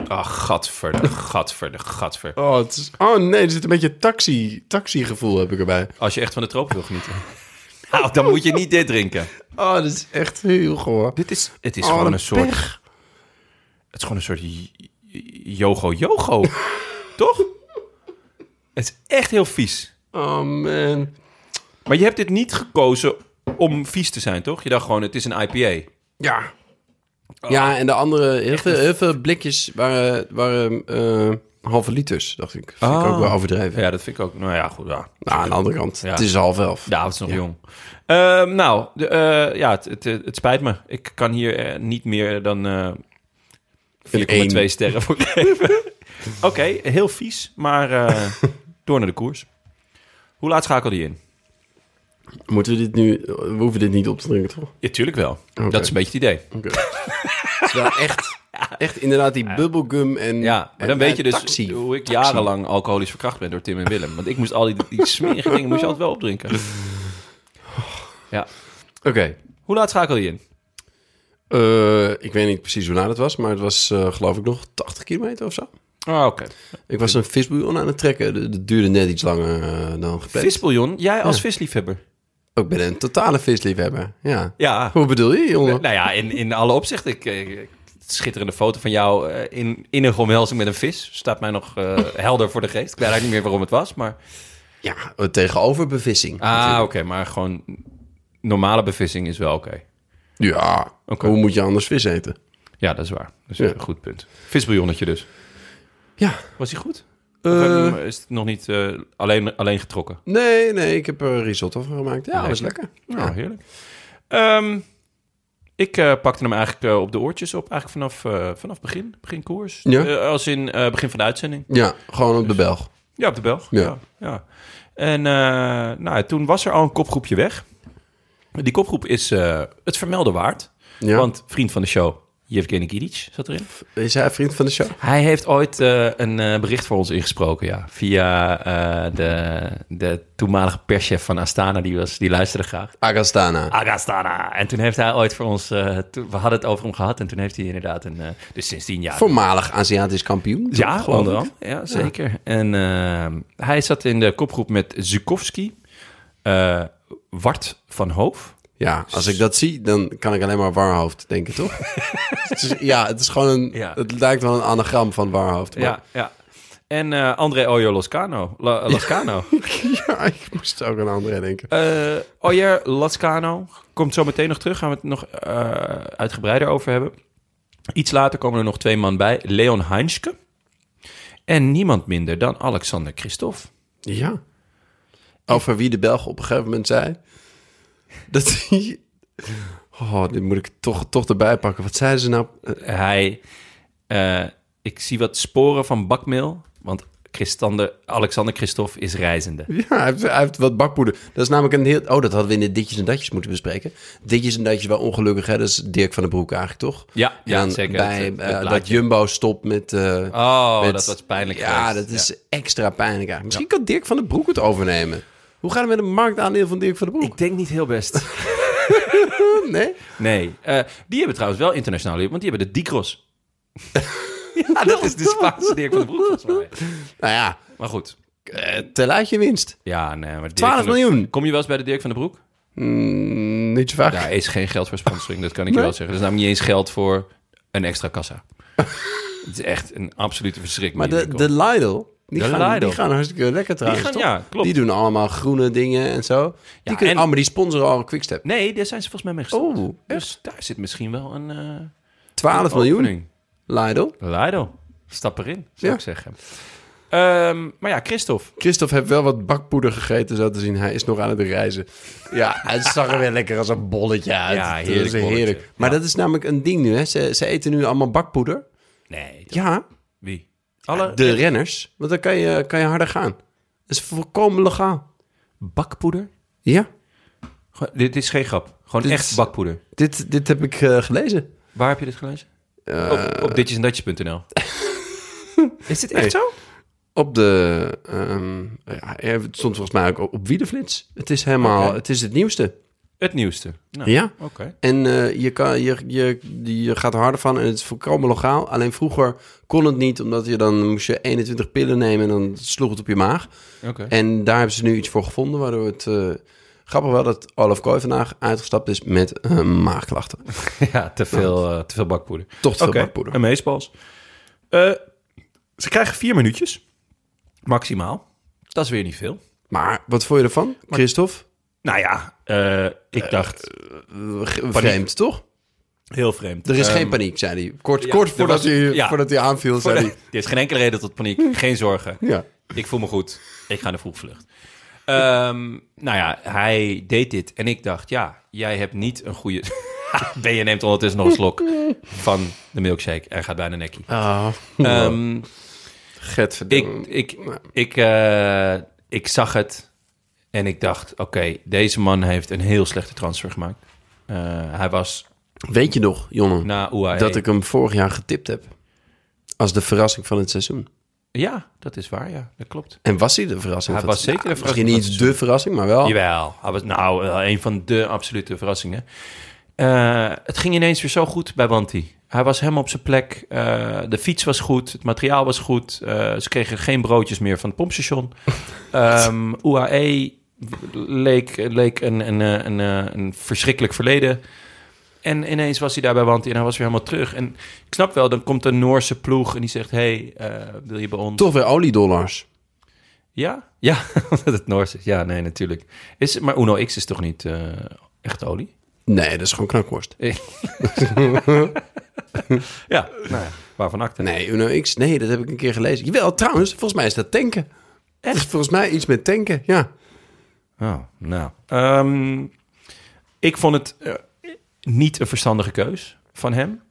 Ach, gadver, de gadver, de gadver.
Oh, het is- oh nee, er zit een beetje taxi, taxi gevoel heb ik erbij.
Als je echt van de tropen wil genieten. nou, dan moet je niet dit drinken.
Oh, dat is echt heel goor.
Dit is, het is
Oh,
gewoon
wat
een soort...
pech.
Het is gewoon een soort j- j- yogo-yogo. Toch? Het is echt heel vies.
Oh man.
Maar je hebt dit niet gekozen om vies te zijn, toch? Je dacht gewoon, het is een IPA.
Ja. Oh. Ja, en de andere, heel, veel, heel veel blikjes waren, waren eh, halve liters, dacht ik. Vind ik
Ah.
ook wel overdreven.
Ja, dat vind ik ook... Nou ja, goed, ja.
Nou, aan de andere kant,
Ja.
het is half elf.
Ja, het is nog jong. Ehm, nou, de, eh, ja, het, het, het spijt me. Ik kan hier eh, niet meer dan eh 4,2
Eén.
sterren voor geven. Oké, heel vies, maar eh, door naar de koers. Hoe laat schakel je in?
Moeten we dit nu, we hoeven dit niet op te drinken, toch?
Ja, tuurlijk wel.
Oké.
Dat is een beetje het idee.
Oké. het is wel echt, echt inderdaad die bubblegum en
Ja, maar
en-
dan weet je
en
dus
taxi.
hoe ik jarenlang alcoholisch verkracht ben door Tim en Willem. Want ik moest al die, die smerige dingen moest je altijd wel opdrinken. Ja.
Oké,
Hoe laat schakel je in?
Eh, ik weet niet precies hoe laat het was, maar het was eh, geloof ik nog 80 kilometer of zo.
Oh, oké.
Ik was een visbouillon aan het trekken. Dat- Dat duurde net iets langer eh, dan gepland.
Visbouillon, jij als visliefhebber.
Ik ben een totale visliefhebber. Ja.
Ja.
Hoe bedoel je, jongen?
Nou ja, in, in alle opzichten. Ik, ik- schitterende foto van jou eh, in, in een omhelzing met een vis. Staat mij nog eh, helder voor de geest. Ik weet eigenlijk niet meer waarom het was, maar...
Ja, eh, tegenover bevissing.
Ah, oké, maar gewoon normale bevissing is wel oké.
Ja,
Oké.
hoe moet je anders vis eten?
Ja, dat is waar. Dat is
Ja.
een goed punt. Visbouillonnetje dus.
Ja,
Was hij goed?
Eh.
of is het nog niet eh, alleen, alleen getrokken?
nee, nee, ik heb er risotto van gemaakt. Ja,
Nee.
was lekker.
Nou,
Ja.
heerlijk. Ehm, ik eh, pakte hem eigenlijk eh, op de oortjes op. Eigenlijk vanaf, eh, vanaf begin, begin koers.
Ja.
Eh, als in eh, begin van de uitzending.
Ja, gewoon
Dus-
op de Belg.
Ja, op de Belg.
Ja.
ja. ja. En eh, nou, toen was er al een kopgroepje weg. Die kopgroep is eh, het vermelden waard.
Ja.
Want vriend van de show, Yevgeny Kidic, zat erin.
Is hij vriend van de show?
Hij heeft ooit eh, een eh, bericht voor ons ingesproken, ja. Via eh, de, de toenmalige perschef van Astana, die, was, die luisterde graag.
Agastana.
Ah. Agastana. En toen heeft hij ooit voor ons... eh, toen- we hadden het over hem gehad en toen heeft hij inderdaad een... eh, dus sinds tien jaar...
Voormalig Aziatisch kampioen.
ja,
geloof
onder
ik.
andere. Ja, zeker. En eh, hij zat in de kopgroep met Zukowski, eh, Wart van Hoof.
Ja, als ik dat zie, dan kan ik alleen maar Warhoofd denken, toch? Het is- ja, het is gewoon een...
Ja.
Het lijkt wel een anagram van Warhoofd. maar-
Ja, ja. En eh, André Ojo Loscano. La- Lascano.
ja, ik moest ook aan andere denken.
Eh Oyer Lascano komt zo meteen nog terug. Gaan we het nog eh, uitgebreider over hebben. Iets later komen er nog twee man bij. Leon Heinske. En niemand minder dan Alexander Christophe.
Ja. Over wie de Belg op een gegeven moment zei... Dat hij... Oh, dit moet ik toch, toch erbij pakken. Wat zeiden ze nou?
Hij, eh, ik zie wat sporen van bakmeel. Want Christander, Alexander Christophe is reizende.
Ja, hij heeft, hij heeft wat bakpoeder. Dat is namelijk een heel... Oh, dat hadden we in de ditjes en datjes moeten bespreken. Ditjes en datjes wel ongelukkig, hè? Dat is Dirk van den Broek eigenlijk, toch?
Ja,
En
ja,
dan
zeker.
Bij,
Het- het
eh, dat
blaadje.
Jumbo stopt met... eh,
Oh,
met-
dat was pijnlijk
Ja,
geweest.
dat is extra pijnlijk eigenlijk. Misschien kan Dirk van den Broek het overnemen. Hoe gaat het met een marktaandeel van Dirk van den Broek?
Ik denk niet heel best.
nee?
Nee, eh, die hebben trouwens wel internationaal want die hebben de Dicros. ja, dat is dus de Spaanse Dirk van de Broek volgens mij.
Nou ja,
Maar goed.
eh, tel uit je winst.
Ja, nee, maar Dirk
12
van de-
miljoen.
Kom je wel eens bij de Dirk van de Broek?
Mm, niet zo vaak.
Daar is geen geld voor sponsoring, dat kan ik je wel zeggen. Er is namelijk niet eens geld voor een extra kassa. Het is echt een absolute verschrikking.
maar
die
de,
winkel.
de Lidl... Die,
De
gaan,
Lidl.
die gaan hartstikke lekker trouwens,
gaan-
toch?
ja, klopt.
Die doen allemaal groene dingen en zo. die
Ja,
kunnen,
en-
Oh, maar die sponsoren al een Quickstep.
Nee, daar zijn ze volgens mij mee gestopt.
Oh,
dus daar zit misschien wel een... eh
12 miljoen,
opening.
Lidl.
Lidl, stap erin, zou
Ja.
ik zeggen. Ehm, maar ja, Christophe.
Christophe heeft wel wat bakpoeder gegeten, zo te zien. Hij is nog aan het reizen. Ja, het zag er weer lekker als een bolletje uit.
Ja,
Dat is
heerlijk bolletje.
heerlijk. Maar dat is namelijk een ding nu, hè. Ze, ze eten nu allemaal bakpoeder.
Nee, dat-
Ja,
wie? Alle
de renners. Want dan kan je, kan je harder gaan. Dat is volkomen legaal.
bakpoeder?
Ja,
Gewoon- Dit is geen grap. Gewoon
Dit
echt
is-
bakpoeder.
dit, dit heb ik eh, gelezen.
Waar heb je dit gelezen?
Eh,
op, op ditjesendatjes.nl. is dit echt
Nee.
zo?
Op de... ehm, ja, het stond volgens mij ook op, op Wiedeflits. Het is helemaal...
Oké.
Het is het nieuwste.
Het nieuwste. Nou,
Ja.
Oké.
En eh, je, kan, je, je, je gaat er harder van en het is volkomen legaal. Alleen vroeger kon het niet, omdat je dan moest je 21 pillen nemen en dan sloeg het op je maag.
Oké.
En daar hebben ze nu iets voor gevonden, waardoor het... eh, grappig wel dat Olaf Kooi vandaag uitgestapt is met eh, maagklachten.
Ja, te veel, eh, te veel bakpoeder.
Toch te veel
Oké,
bakpoeder.
Een meespals. Eh, ze krijgen vier minuutjes. Maximaal. Dat is weer niet veel.
Maar wat vond je ervan, Christophe?
Nou ja, eh, ik dacht...
G- Vreemd, toch?
heel vreemd.
Er is
Ehm,
geen paniek, zei hij. Kort,
ja,
kort
er
voordat,
was-
hij,
ja.
voordat hij aanviel,
voor
zei
de-
hij...
Er is geen enkele reden tot paniek. Geen zorgen.
Ja.
Ik voel me goed. Ik ga in de vroegvlucht. Ehm, nou ja, hij deed dit en ik dacht, ja, jij hebt niet een goede... ben je neemt ondertussen nog een slok van de milkshake en gaat bijna nekkie.
Ah,
Ehm, ik,
Getverdam-
ik, ik, eh, ik zag het en ik dacht, oké, deze man heeft een heel slechte transfer gemaakt. Eh, hij was
Weet je nog, Jonne,
na E UAE.
dat ik hem vorig jaar getipt heb? Als de verrassing van het seizoen.
Ja, dat is waar, ja, dat klopt.
En was hij de verrassing?
Hij
van
was zeker de
Nou,
verrassing
Misschien
van
niet de verrassing, maar wel.
Jawel, hij was nou eh, een van de absolute verrassingen. Eh, het ging ineens weer zo goed bij Wanty. Hij was helemaal op zijn plek. Eh, de fiets was goed. Het materiaal was goed. Eh, ze kregen geen broodjes meer van het pompstation. Ehm UAE leek, leek een, een, eh, een, eh, een verschrikkelijk verleden. En ineens was hij daar bij Wanty en hij was weer helemaal terug. En ik snap wel, dan komt een Noorse ploeg en die zegt... hey, eh, wil je bij ons?
Toch weer oliedollars.
Ja? Ja, omdat het Noors is. Ja, nee, natuurlijk. Is, maar Uno X is toch niet eh, echt olie?
Nee, dat is gewoon knakworst.
Ja, nou ja, waarvan acte.
Nee, Uno X, nee, dat heb ik een keer gelezen. Jawel, trouwens, volgens mij is dat tanken. Echt? Volgens mij iets met tanken, ja.
Oh, nou. Ehm, ik vond het eh, niet een verstandige keus van hem.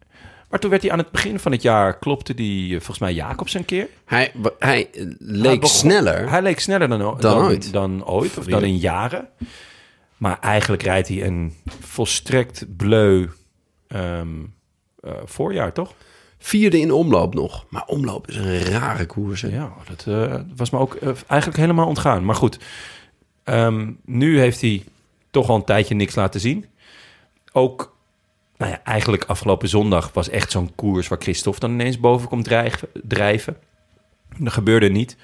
Maar toen werd hij aan het begin van het jaar, klopte die eh, volgens mij Jacobs een keer.
Hij, wa- hij eh, leek
begon-
sneller.
Hij leek sneller dan, o-
Dan ooit.
Dan ooit, of dan in jaren. Maar eigenlijk rijdt hij een volstrekt bleu ehm, eh, voorjaar, toch?
Vierde in omloop nog. Maar omloop is een rare koers. hè.
Ja, dat eh, was me ook eh, eigenlijk helemaal ontgaan. Maar goed, ehm, nu heeft hij toch al een tijdje niks laten zien. Ook, nou ja, eigenlijk afgelopen zondag was echt zo'n koers waar Christophe dan ineens boven komt drijven. drijven. Dat gebeurde niet.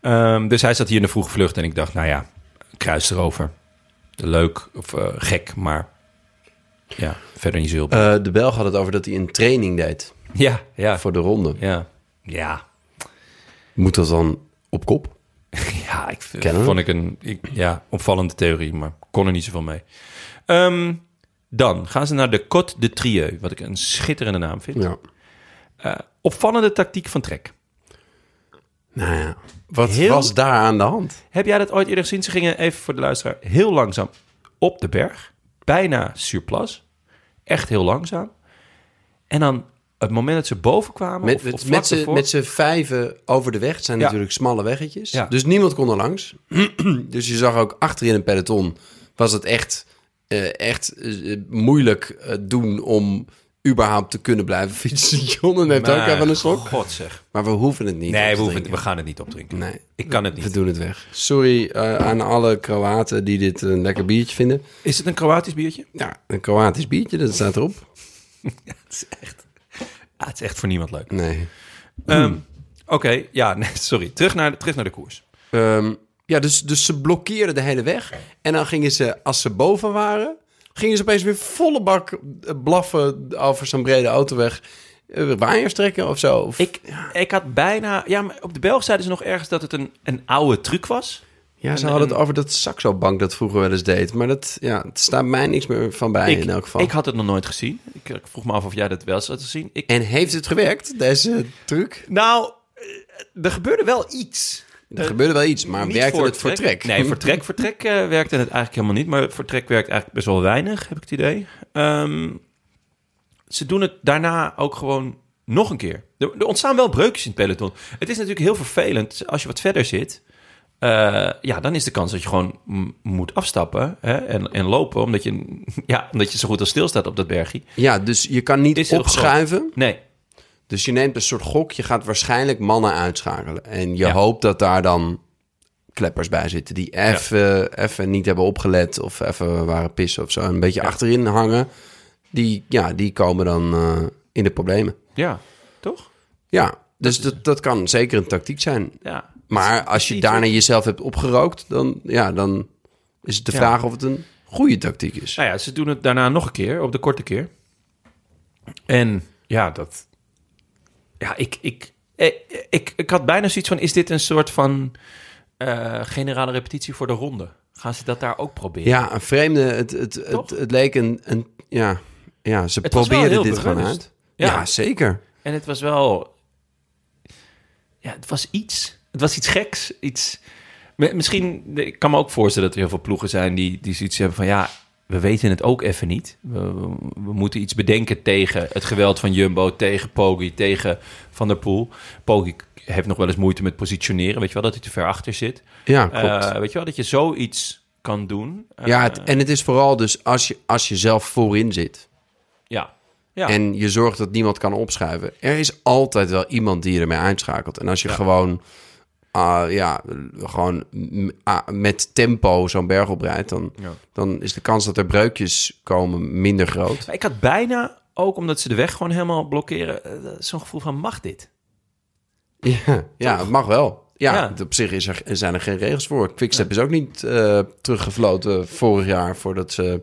Ehm, dus hij zat hier in de vroege vlucht en ik dacht, nou ja, kruis erover. Leuk of eh, gek, maar ja, verder niet zo heel...
Eh, de Belg had het over dat hij een training deed
ja, ja,
voor de ronde.
ja, ja.
Moet dat dan op kop?
Ja, ik v-
Kennen we?
vond ik een ik, ja, opvallende theorie, maar kon er niet zoveel mee. Ehm, dan gaan ze naar de Côte de Trieu, wat ik een schitterende naam vind.
Ja.
Opvallende tactiek van Trek.
Nou ja. Wat
Heel-
was daar aan de hand?
Heb jij dat ooit eerder gezien? Ze gingen even voor de luisteraar heel langzaam op de berg. Bijna surplus. Echt heel langzaam. En dan het moment dat ze boven kwamen...
Met,
of, of
met,
vlak
met z'n-
ervoor-
met z'n vijven over de weg. Het zijn
Ja.
natuurlijk smalle weggetjes.
Ja.
Dus niemand kon er langs. dus je zag ook achterin een peloton was het echt, eh, echt eh, moeilijk eh, doen om überhaupt te kunnen blijven fietsen. John heeft ook
Maar
even een schok.
God zeg.
Maar we hoeven het niet. op
Nee,
te
we, hoeven, we
drinken.
gaan het niet opdrinken.
Nee.
Ik kan het
We
niet.
doen het weg. Sorry eh, aan alle Kroaten die dit een lekker biertje vinden.
Is het een Kroatisch biertje?
Ja, een Kroatisch biertje, dat staat erop.
Het is echt... Ah, het is echt voor niemand leuk.
Nee.
Ehm, Oké, ja, nee, sorry. Terug naar, de- terug naar de koers.
Ehm, ja, dus, dus ze blokkeerden de hele weg. En dan gingen ze, als ze boven waren, gingen ze opeens weer volle bak eh, blaffen over zo'n brede autoweg. Eh, Waaiers trekken of zo. Of-
Ik, ik had bijna... Ja, maar op de Belg zeiden ze nog ergens dat het een, een oude truc was.
ja, ze
en-
hadden
en-
het over dat Saxo-bank dat vroeger wel eens deed. Maar dat, ja, het staat mij niks meer van bij
ik,
in elk geval.
ik had het nog nooit gezien. Ik, ik vroeg me af of jij dat wel eens had gezien. Ik,
En heeft het gewerkt, deze truc?
nou, eh, er gebeurde wel iets.
Er gebeurde wel iets, maar
Eh, Niet
werkte het vertrek?
Nee, vertrek, vertrek eh, werkte het eigenlijk helemaal niet. Maar vertrek werkt eigenlijk best wel weinig, heb ik het idee. Ehm, ze doen het daarna ook gewoon nog een keer. Er, er ontstaan wel breukjes in het peloton. Het is natuurlijk heel vervelend als je wat verder zit. eh, ja, dan is de kans dat je gewoon m- moet afstappen hè, en, en lopen. Omdat je, ja, omdat je zo goed als stilstaat op dat bergje.
Ja, dus je kan
Is
niet
heel groot.
opschuiven.
Nee,
Dus je neemt een soort gok. Je gaat waarschijnlijk mannen uitschakelen. En je
Ja.
hoopt dat daar dan kleppers bij zitten. Die even even niet hebben opgelet. Of even waren pissen of zo. Een beetje achterin hangen. Die, ja, die komen dan eh, in de problemen.
ja, toch?
Ja, dus dat, dat kan zeker een tactiek zijn.
Ja.
Maar als je
iets
daarna jezelf hebt opgerookt, dan, ja, dan is het de
Ja.
vraag of het een goede tactiek is.
Nou ja, ze doen het daarna nog een keer, op de korte keer. En ja, dat. Ja, ik. Ik, ik, ik, ik had bijna zoiets van: is dit een soort van eh, generale repetitie voor de ronde? Gaan ze dat daar ook proberen?
Ja, een vreemde. Het, het,
Toch?
het, het leek een, een. Ja, ja ze
Het was wel
probeerden
heel
dit gewoon
bewust.
uit.
Ja.
Ja. zeker.
En het was wel. Ja, het was iets. Het was iets geks. Iets. Mi- Misschien. Ik kan me ook voorstellen dat er heel veel ploegen zijn die, die zoiets hebben van ja. We weten het ook even niet. We, we- we moeten iets bedenken tegen het geweld van Jumbo, tegen Poggi, tegen Van der Poel. Poggi heeft nog wel eens moeite met positioneren. Weet je wel dat hij te ver achter zit.
Ja, klopt.
Eh, weet je wel dat je zoiets kan doen. Eh,
ja, het, en het is vooral dus als je, als je zelf voorin zit.
ja. Ja.
En je zorgt dat niemand kan opschuiven. Er is altijd wel iemand die je ermee uitschakelt. En als je gewoon ah, ja, gewoon m- ah, met tempo zo'n berg oprijdt, dan,
Ja.
dan is de kans dat er breukjes komen minder groot.
Maar ik had bijna, ook omdat ze de weg gewoon helemaal blokkeren, eh, zo'n gevoel van mag dit?
Ja, ja het mag wel. Ja,
Ja.
het- op zich is er, zijn er geen regels voor. Quickstep is ook niet eh, teruggefloten vorig jaar voordat ze,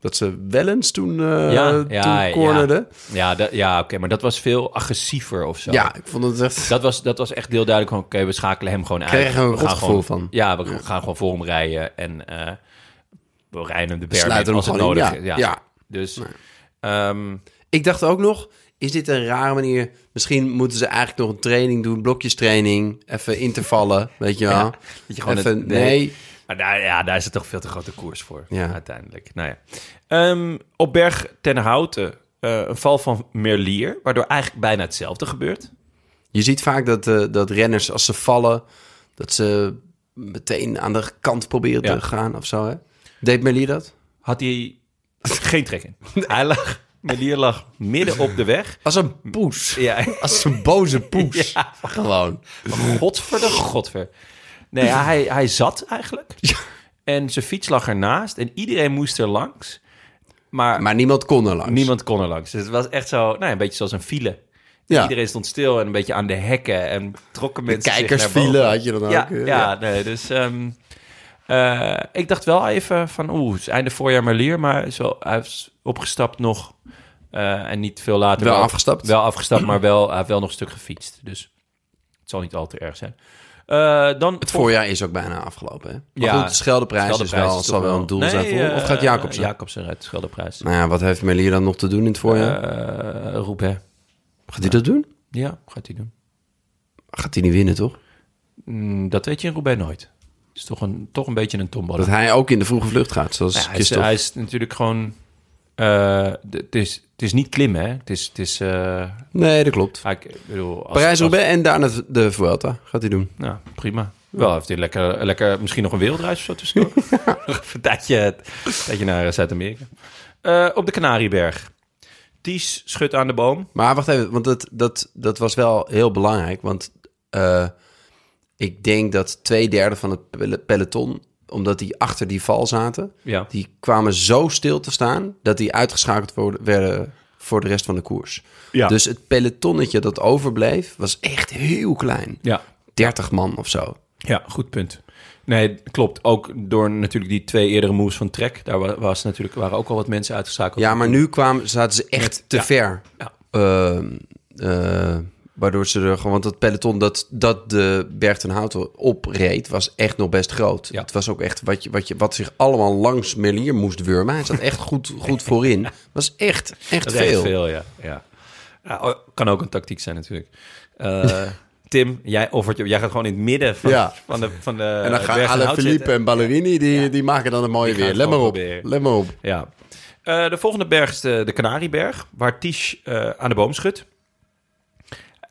dat ze wel eens toen, eh
Ja,
toen cornerden.
Ja, dat- ja oké, maar dat was veel agressiever of zo.
Ja. ik vond het echt...
Dat was, dat was echt heel duidelijk van, oké, we schakelen hem gewoon uit.
Kreeg er een
we gaan
rotgevoel
gewoon,
van.
Ja, we gaan gewoon voor hem rijden en eh, we rijden hem de berg
Sluiten
in
hem
als het
gewoon in,
nodig
ja.
is. Ja.
Ja.
Dus, ehm,
Ik dacht ook nog, is dit een rare manier? Misschien moeten ze eigenlijk nog een training doen, blokjestraining, even intervallen, weet je wel.
Ja, dat je gewoon
even,
het-
nee.
nee. maar daar, ja, daar is het toch veel te grote koers voor,
Ja.
uiteindelijk. Nou ja. Ehm, op berg ten Houten, eh, een val van Merlier, waardoor eigenlijk bijna hetzelfde gebeurt.
Je ziet vaak dat, eh, dat renners als ze vallen, dat ze meteen aan de kant proberen
Ja.
te gaan of zo. Hè? Deed Merlier dat?
Had hij geen trek in. Hij lag, Merlier lag midden op de weg.
Als een poes.
Ja,
Als een boze poes.
Ja.
Gewoon.
Godver de godver. Nee, hij, hij zat eigenlijk. En zijn fiets lag ernaast. En iedereen moest er langs. Maar,
Maar niemand kon er langs.
niemand kon er langs. Dus het was echt zo, nou, een beetje zoals een file.
Ja.
Iedereen stond stil en een beetje aan de hekken. En trokken mensen zich
Kijkers
naar boven.
vielen, had je dan ook.
Ja,
eh,
ja, nee, dus... ehm, eh, ik dacht wel even van, oeh, het is einde voorjaar Merlier, maar hij is wel, hij is opgestapt nog eh, en niet veel later.
Wel afgestapt.
Wel afgestapt, maar wel, hij heeft wel nog een stuk gefietst, dus het zal niet al te erg zijn. Eh, dan
Het voorjaar is ook bijna afgelopen. Hè? Maar
Ja.
goed, de Scheldeprijs,
Scheldeprijs
is wel,
is
zal
toch
wel een doel zijn
Nee,
voor. of
eh,
gaat Jacobsen?
Jacobsen uit de Scheldeprijs.
Nou ja, wat heeft Merlier dan nog te doen in het voorjaar?
Eh, Roubaix.
gaat hij dat doen?
Ja, gaat hij doen.
Gaat hij niet winnen, toch?
Mm, dat weet je in Roubaix nooit. Het is toch een, toch een beetje een tombola.
Dat hij ook in de vroege vlucht gaat, zoals
Ja, hij, is,
Christophe.
hij is natuurlijk gewoon... eh, d- het, is, het is niet klimmen, hè. Het is... Het is eh,
Nee, dat klopt.
ah, ik bedoel... als-
Parijs-Roubaix en daarna de Vuelta gaat hij doen.
als- Nou, prima. Wel, heeft hij lekker, lekker misschien nog een wereldreis of zo tussendoor. Nog een tijdje, tijdje naar eh, Zuid-Amerika. Eh, op de Canarieberg. Ties schudt aan de boom.
Maar wacht even, want dat, dat, dat was wel heel belangrijk. Want eh, ik denk dat twee derde van het pel- peloton, omdat die achter die val zaten,
Ja.
die kwamen zo stil te staan dat die uitgeschakeld worden, werden voor de rest van de koers.
Ja.
Dus het pelotonnetje dat overbleef was echt heel klein.
Ja,
30 man of zo.
Ja, goed punt. Nee, klopt. Ook door natuurlijk die twee eerdere moves van Trek. Daar wa- was natuurlijk, waren ook al wat mensen uitgeschakeld.
Ja, maar nu kwamen, zaten ze echt te
ja.
ver.
Ja.
Ehm, eh, waardoor ze er gewoon... Want dat peloton dat, dat de Berg ten Houten opreed... was echt nog best groot.
Ja.
Het was ook echt wat, je, wat, je, wat zich allemaal langs Merlier moest wurmen. Hij zat echt goed, goed voorin. was echt, echt
dat is
veel.
echt veel, ja. ja. Ja, o- kan ook een tactiek zijn natuurlijk. Eh, Tim, jij, offert, je- jij gaat gewoon in het midden van,
Ja.
van de van de
En dan
berg-
gaan
en Eh, hout
Alaphilippe
zitten.
en Ballerini... Die, die maken dan het
Die
mooie
gaan
weer.
het
Let maar
gewoon
op.
proberen.
Let maar op.
Ja. Eh, de volgende berg is de, de Canarieberg, waar Ties eh, aan de boom schudt.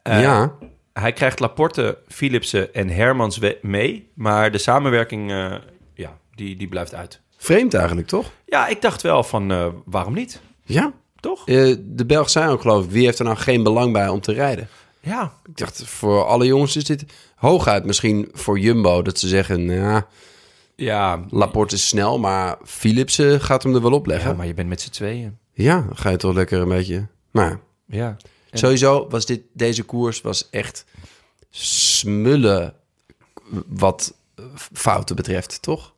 Eh,
ja.
Hij krijgt Laporte, Philipsen en Hermans we- mee, maar de samenwerking eh, ja, die, die blijft uit.
Vreemd eigenlijk, toch?
Ja, ik dacht wel van eh, waarom niet,
Ja.
toch?
Eh, de Belg zei ook, geloof ik... wie heeft er nou geen belang bij om te rijden?
Ja,
Ik dacht, voor alle jongens is dit hooguit misschien voor Jumbo. Dat ze zeggen, ja,
ja,
Laporte is snel, maar Philipsen gaat hem er wel opleggen.
ja
Ja,
maar je bent met z'n tweeën.
dan ga je toch lekker een beetje... Nou, ja.
Ja.
sowieso was dit, deze koers was echt smullen wat eh, fouten betreft, toch?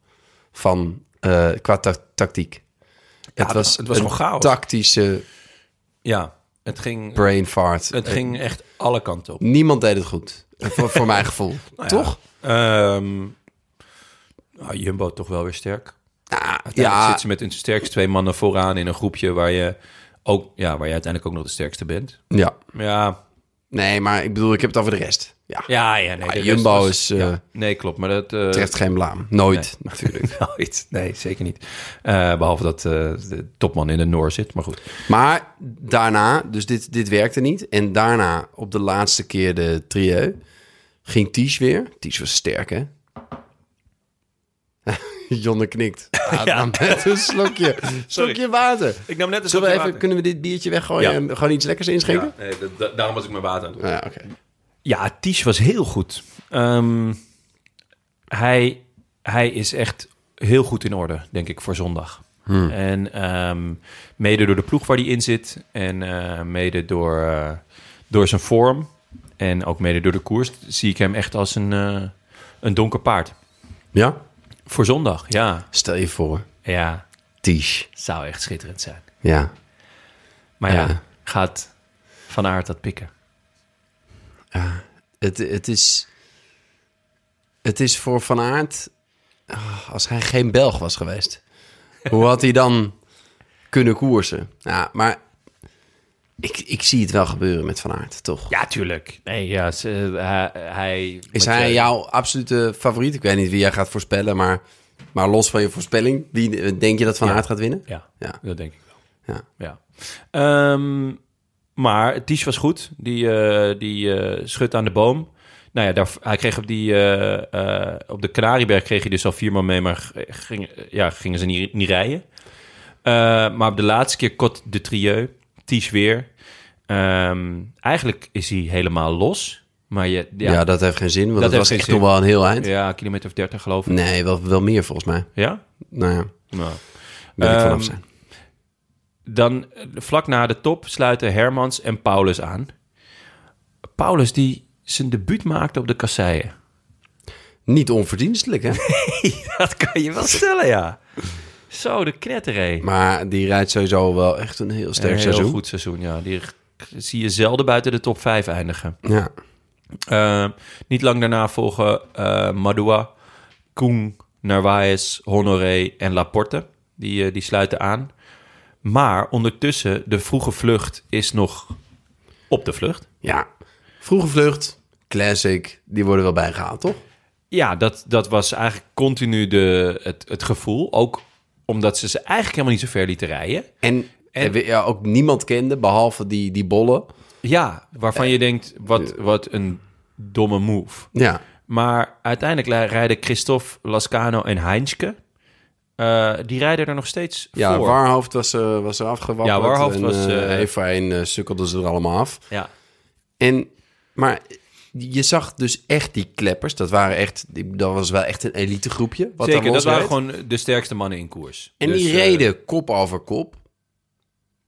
Van, eh, qua ta- tactiek. het was,
het was
een
gewoon chaos.
tactische
Ja, het ging,
brain fart.
het
Eh,
ging echt alle kanten op.
Niemand deed het goed, eh, voor, voor mijn gevoel.
Nou
toch?
Ehm, nou, Jumbo toch wel weer sterk. Uiteindelijk
Ja,
zit ze met hun sterkste twee mannen vooraan in een groepje waar je, ook, ja, waar je uiteindelijk ook nog de sterkste bent.
ja,
Ja,
Nee, maar ik bedoel, ik heb het over de rest. Ja,
ja, ja. Nee, de
Ah,
rest
Jumbo is, eh,
nee, klopt. Maar dat... eh,
terecht geen blaam. Nooit, natuurlijk.
Nooit. Nee, zeker niet. Eh, behalve dat eh, de topman in de Noor zit, maar goed.
Maar daarna, dus dit, dit werkte niet. En daarna, op de laatste keer de trio, ging Ties weer. Ties was sterk, hè? Jonne knikt. Ah, dan Met een slokje, slokje water.
Ik nam net een
Zullen
slokje
we even,
water.
kunnen we dit biertje weggooien
Ja.
en gewoon iets lekkers inschenken? Nou
nee, dat- dat- daarom was ik mijn water aan het doen.
Ja, oké.
Ja, Ties was heel goed. Ehm, hij, hij is echt heel goed in orde, denk ik, voor zondag. En ehm, mede door de ploeg waar hij in zit. En eh, mede door, eh, door zijn vorm. En ook mede door de koers zie ik hem echt als een, eh, een donker paard.
Ja?
Voor zondag, ja.
Stel je voor,
Ja,
Ties.
zou echt schitterend zijn.
Ja.
Maar ja,
Ja.
gaat Van Aert dat pikken?
Het, het, is, het is voor Van Aert... ah, Als hij geen Belg was geweest, hoe had hij dan kunnen koersen? Ja, maar ik, ik zie het wel gebeuren met Van Aert, toch?
Ja, tuurlijk. Nee, ja, ze- hij, hij...
Is
met eh,
hij
je-
jouw absolute favoriet? Ik weet niet wie jij gaat voorspellen, maar, maar los van je voorspelling, wie, denk je dat Van Aert gaat winnen?
Ja,
Ja.
dat denk ik wel.
Ja.
Ja. Ehm, maar Ties was goed. Die, eh, die eh, schudt aan de boom. Nou ja, daar, hij kreeg op, die, eh, eh, op de Canarieberg kreeg hij dus al viermaal mee, maar g- ging, ja, gingen ze niet, niet rijden. Eh, maar op de laatste keer kot de trieu, Ties weer. Ehm, eigenlijk is hij helemaal los. Maar je,
Ja.
ja, ja,
dat heeft geen zin, want
Dat
dat,
heeft
was
geen
echt
zin.
nog wel een heel eind.
kilometer of dertig geloof ik.
Nee, wel, wel meer volgens mij.
Ja?
Nou ja,
Nou.
wil ik vanaf
Ehm,
zijn.
Dan eh, vlak na de top sluiten Hermans en Paulus aan. Paulus die zijn debuut maakte op de kasseien.
Niet onverdienstelijk, hè?
Dat kan je wel stellen, ja. Zo, de knetteré.
maar die rijdt sowieso wel echt een heel sterk
Een heel
seizoen.
goed seizoen, ja. Die zie je zelden buiten de top 5 eindigen.
Ja.
Eh, niet lang daarna volgen eh, Madua, Koen, Narvaez, Honoré en Laporte. Die, eh, die sluiten aan. Maar ondertussen, de vroege vlucht is nog op de vlucht.
ja, vroege vlucht, classic, die worden wel bijgehaald, toch?
Ja, dat, dat was eigenlijk continu de, het, het gevoel. Ook omdat ze ze eigenlijk helemaal niet zo ver lieten rijden.
En, en we- ja, ook niemand kende, behalve die, die bollen.
Ja, waarvan
Eh,
je denkt, wat, wat een domme move.
Ja,
Maar uiteindelijk li- rijden Christophe, Lascano en Heinzke. eh, die rijden er nog steeds
ja
voor.
Warhoofd was, eh was er afgewapperd.
Ja, Warhoofd
en,
was,
eh,
eh,
Efraïn, eh, sukkelde ze er allemaal af.
Ja,
En, maar je zag dus echt die kleppers. Dat waren echt, die- dat was wel echt een elite groepje. Wat
zeker.
daar
Dat waren
losreed.
gewoon de sterkste mannen in koers.
En
Dus,
die
eh,
reden kop over kop.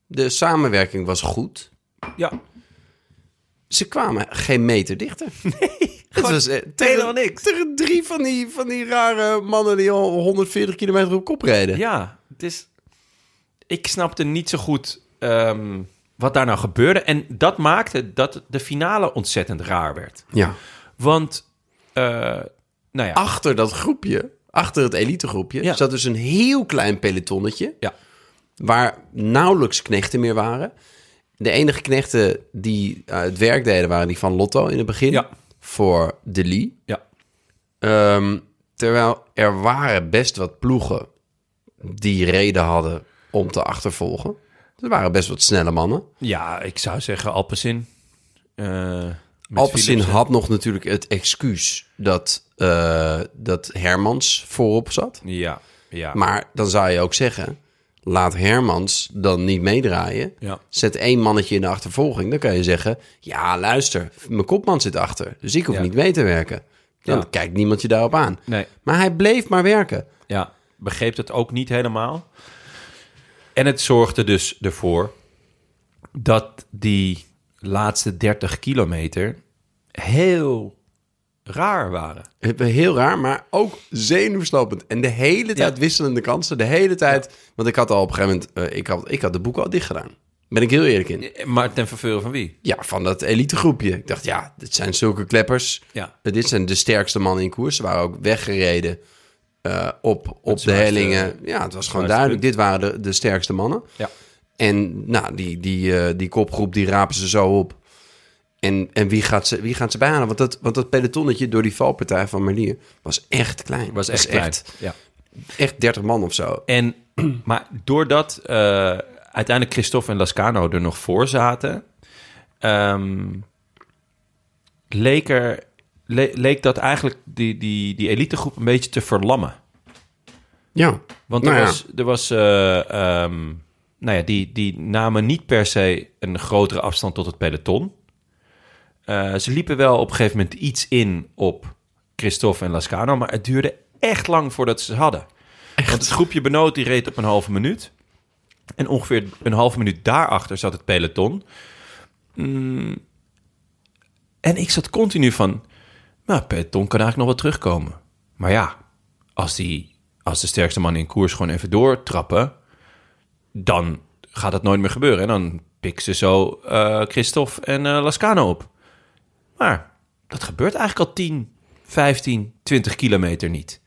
De samenwerking was goed.
ja,
Ze kwamen geen meter dichter. Nee, het was eh,
helemaal
tegen,
niks.
tegen drie van die, van die rare mannen die al 140 kilometer op kop reden.
Ja, het is... Ik snapte niet zo goed ehm, wat daar nou gebeurde. En dat maakte dat de finale ontzettend raar werd.
Ja.
Want, eh, nou ja.
Achter dat groepje, achter het elite groepje,
Ja.
zat dus een heel klein pelotonnetje.
Ja.
waar nauwelijks knechten meer waren. De enige knechten die eh, het werk deden waren die van Lotto in het begin
Ja.
voor De Lee.
ja.
Ehm, terwijl er waren best wat ploegen die reden hadden om te achtervolgen. Er waren best wat snelle mannen.
Ja, ik zou zeggen Alpecin. Eh, met
Alpecin
Philipsen.
had nog natuurlijk het excuus dat, eh, dat Hermans voorop zat.
Ja, ja.
Maar dan zou je ook zeggen, laat Hermans dan niet meedraaien.
Ja.
Zet één mannetje in de achtervolging. Dan kan je zeggen, ja luister, mijn kopman zit achter. Dus ik hoef
Ja.
niet mee te werken. Dan
Ja.
kijkt niemand je daarop aan.
Nee.
Maar hij bleef maar werken.
ja, begreep het ook niet helemaal. En het zorgde dus ervoor dat die laatste 30 kilometer heel raar waren.
Eh, Heel raar, maar ook zenuwslopend. En de hele tijd wisselende kansen. De hele tijd. Want ik had al op een gegeven moment. eh, ik, had, ik had de boeken al dicht gedaan. Ben ik heel eerlijk in.
Maar ten verveuren van wie?
Ja, van dat elite groepje. Ik dacht, ja, dit zijn zulke kleppers. Eh,
Ja.
Dit zijn de sterkste mannen in koers. Ze waren ook weggereden eh, op, op de
zwaarste-
hellingen. Ja, het was gewoon
punt.
duidelijk. Dit waren de, de sterkste mannen.
Ja.
En nou, die, die, eh, die kopgroep, die rapen ze zo op. En, en wie, gaat ze, wie gaat ze bijhalen? Want dat, want dat pelotonnetje door die valpartij van Merlier was echt klein.
Was
Dat
echt
is
klein.
Echt,
Ja.
echt 30 man of zo.
En, maar doordat eh, uiteindelijk Christophe en Lascano er nog voor zaten, ehm, leek, er, le- leek dat eigenlijk die, die, die elitegroep een beetje te verlammen.
Ja.
Want
Nou
er
ja.
was, er was eh, ehm, nou ja, die, die namen niet per se een grotere afstand tot het peloton. Eh, eh, ze liepen wel op een gegeven moment iets in op Christophe en Lascano, maar het duurde echt lang voordat ze ze hadden. Want het groepje Benoot die reed op een halve minuut. En ongeveer een halve minuut daarachter zat het peloton. Mm. En ik zat continu van, nou, peloton kan eigenlijk nog wel terugkomen. Maar ja, als, die, als de sterkste man in koers gewoon even doortrappen, dan gaat dat nooit meer gebeuren. En dan pikken ze zo eh Christophe en eh, Lascano op. Maar dat gebeurt eigenlijk al 10, 15, 20 kilometer niet.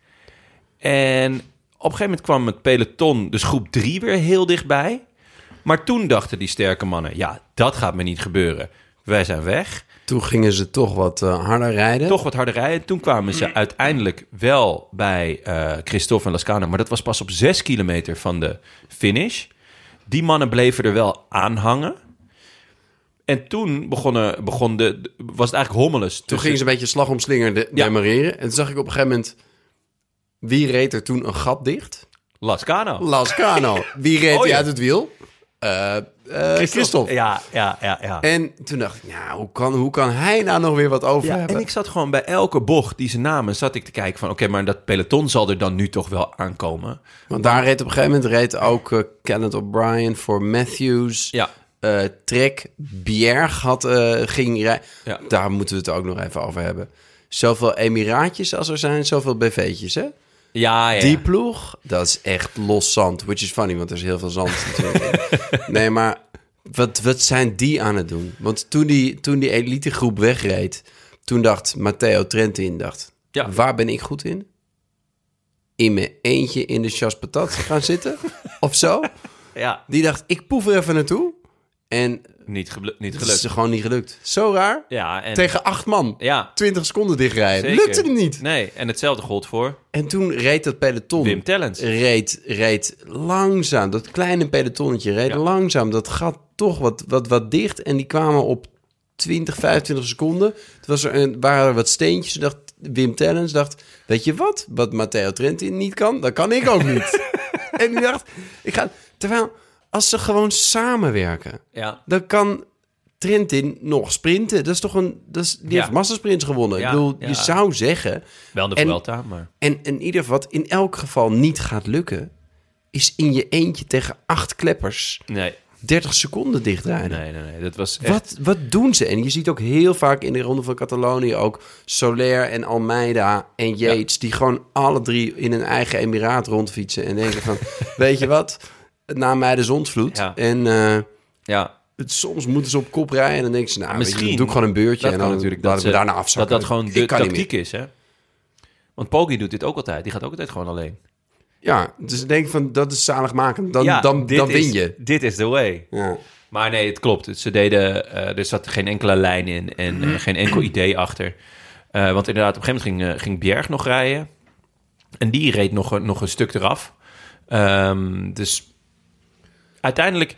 En op een gegeven moment kwam het peloton, dus groep 3, weer heel dichtbij. Maar toen dachten die sterke mannen, ja, dat gaat me niet gebeuren. Wij zijn weg.
Toen gingen ze toch wat eh, harder rijden.
Toch wat harder rijden. Toen kwamen ze uiteindelijk wel bij eh Christophe en Lascano. Maar dat was pas op zes kilometer van de finish. Die mannen bleven er wel aan hangen. En toen begonnen, begon de, was het eigenlijk hommeles.
Toen
tussen-
gingen ze een beetje slag om slinger de-
Ja.
demareren. En toen zag ik op een gegeven moment... Wie reed er toen een gat dicht?
Lascano.
Lascano. Wie reed
Oh,
die
ja.
uit het wiel? Eh eh, Christophe.
Ja, ja, ja. ja.
En toen dacht ik, nou, hoe kan, hoe kan hij nou nog weer wat over
Ja,
hebben?
en ik zat gewoon bij elke bocht die ze namen, zat ik te kijken van... oké, maar dat peloton zal er dan nu toch wel aankomen.
Want daar reed op een gegeven moment reed ook eh Kenneth O'Brien voor Matthews.
Ja.
Eh, Trek Bjerg had, eh, ging rijden.
Ja.
Daar moeten we het ook nog even over hebben. Zoveel emiraatjes als er zijn, zoveel bv'tjes, hè?
Ja, ja.
Die ploeg, dat is echt los zand. Which is funny, want er is heel veel zand natuurlijk. nee, maar wat, wat zijn die aan het doen? Want toen die, toen die elitegroep wegreed... toen dacht Matteo Trentin, dacht...
Ja.
waar ben ik goed in? In mijn eentje in de chas patat gaan zitten? of zo?
ja.
Die dacht, ik poef er even naartoe. En
Niet, geblu- niet
het is
gelukt.
gewoon niet gelukt. Zo raar.
Ja, en...
Tegen acht man.
Ja,
20 seconden dichtrijden.
Zeker.
Lukte het niet.
Nee, en hetzelfde gold voor
En toen reed dat peloton.
Wim Tellens.
reed, reed langzaam, dat kleine pelotonnetje reed
Ja.
langzaam. Dat gaat toch wat, wat, wat dicht. En die kwamen op 20, 25 seconden. Toen was er een, waren er wat steentjes. Dacht, Wim Tellens dacht, weet je wat? Wat Matteo Trentin niet kan, dat kan ik ook niet. en die dacht, ik ga... Terwijl, als ze gewoon samenwerken,
Ja.
dan kan... Trentin nog sprinten. Dat is toch een. Dat is, die
Ja.
heeft massasprints gewonnen.
Ja,
ik bedoel,
ja.
je zou zeggen.
Wel de
En-
Vuelta, maar...
En in ieder geval, wat in elk geval niet gaat lukken, is in je eentje tegen acht kleppers
Nee,
30 seconden dichtrijden.
nee, nee. nee. Dat was echt...
Wat, wat doen ze? En je ziet ook heel vaak in de Ronde van Catalonië ook Soler en Almeida en Yates... die gewoon alle drie in hun eigen emiraat rondfietsen en denken van... weet je wat, na mij de zonsvloed.
Ja.
En eh,
Ja,
het, soms moeten ze op kop rijden en dan denken ze... nou, Misschien,
Misschien.
doe ik gewoon een beurtje
dat
en
kan
dan
natuurlijk.
laat
Dat,
ik me
ze-
daarna afzakken.
dat dat gewoon
Ik
de
kan niet meer.
tactiek is, hè. Want Poggi doet dit ook altijd. Die gaat ook altijd gewoon alleen.
Ja, dus ik denk van, dat is zaligmakend. Dan,
Ja,
dan,
dit
dan
is-
win je.
Dit is the way.
Ja.
Maar nee, het klopt. Ze deden, eh, er zat geen enkele lijn in en eh, geen enkel idee achter. Eh, want inderdaad, op een gegeven moment ging, eh, ging Bjerg nog rijden. En die reed nog, een- nog een stuk eraf. Ehm, dus uiteindelijk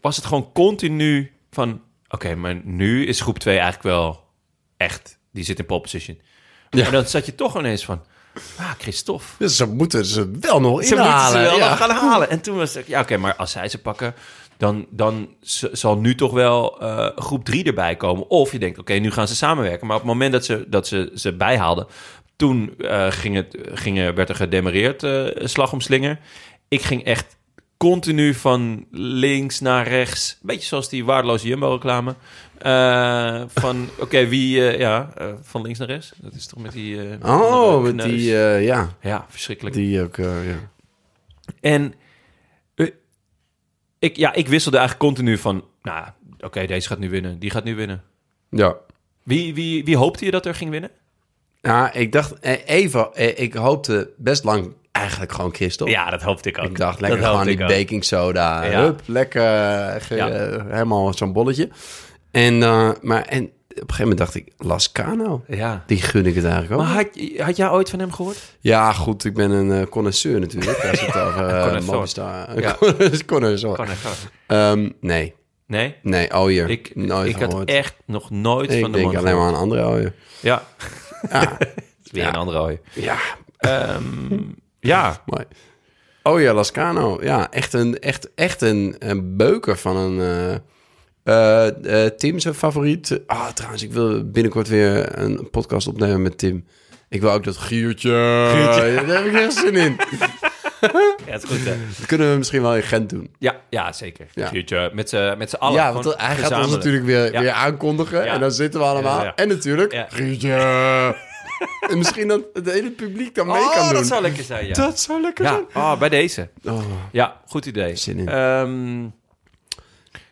was het gewoon continu van... Oké, maar nu is groep 2 eigenlijk wel echt... Die zit in pole position. Maar dan zat je toch ineens van... Ah, Christophe.
Dus ze moeten ze wel nog
Ze moeten
inhalen.
ze wel
ja.
nog gaan halen. En toen was ik, ja oké, maar als zij ze pakken, dan, dan z- zal nu toch wel eh, groep 3 erbij komen. Of je denkt, oké, nu gaan ze samenwerken. Maar op het moment dat ze, dat ze ze bijhaalden, toen eh, ging het, ging, er- werd er gedemareerd eh slag om slinger. Ik ging echt continu van links naar rechts. Beetje zoals die waardeloze Jumbo-reclame. Eh, van, oké, wie... eh, ja, eh, van links naar rechts. Dat is toch met die... eh,
Oh,
andere
met
kneus.
die, eh, ja,
Ja, verschrikkelijk.
die ook, eh, ja.
En eh, ik, ja, ik wisselde eigenlijk continu van... Nou, oké, deze gaat nu winnen. Die gaat nu winnen.
ja.
Wie, wie, wie hoopte je dat er ging winnen?
Ja, ik dacht eh, even, eh, ik hoopte best lang eigenlijk gewoon Christophe.
Oh. Ja, dat hoopte ik ook.
Ik dacht lekker gewoon die baking soda,
Ja.
hup, lekker, eh, ge-
Ja.
eh, helemaal zo'n bolletje. En, eh, maar en op een gegeven moment dacht ik, Lascano,
Ja.
die gun ik het eigenlijk ook.
Maar had, had jij ooit van hem gehoord?
Ja, goed, ik ben een eh connoisseur natuurlijk, als het over eh
Connoisseur.
Movistar...
Ja.
Connoisseur. Ehm, nee,
Nee?
nee, Ooier,
Ik,
nooit
ik had
gehoord.
echt nog nooit
Ik
van de
denk
man
alleen maar
gehoord.
aan andere ooien.
Ja.
Ja,
Weer
Ja.
een andere hooi.
ja,
Ehm, ja.
mooi. Oh ja, Lascano. Ja, echt een, echt, echt een, een beuker van een, eh, Eh, eh, Tim, zijn favoriet. Ah, trouwens, ik wil binnenkort weer een podcast opnemen met Tim. Ik wil ook dat giertje. Ja, Daar heb ik echt zin in.
Ja, het is goed, hè?
Dat kunnen we misschien wel in Gent doen.
Ja, ja zeker.
Ja.
Future, met z'n met z'n allen.
ja, want
Gewoon
hij gaat ons
gezamenlijk.
natuurlijk weer,
Ja.
weer aankondigen.
Ja.
En dan zitten we allemaal.
Ja, ja.
En natuurlijk,
Ja.
giertje. en misschien dat het hele publiek dan mee
Oh,
kan doen.
dat zou lekker zijn, ja.
Dat zou lekker
Ja, oh, bij deze.
zijn. Oh.
Ja, goed idee.
Zin in.
Ehm,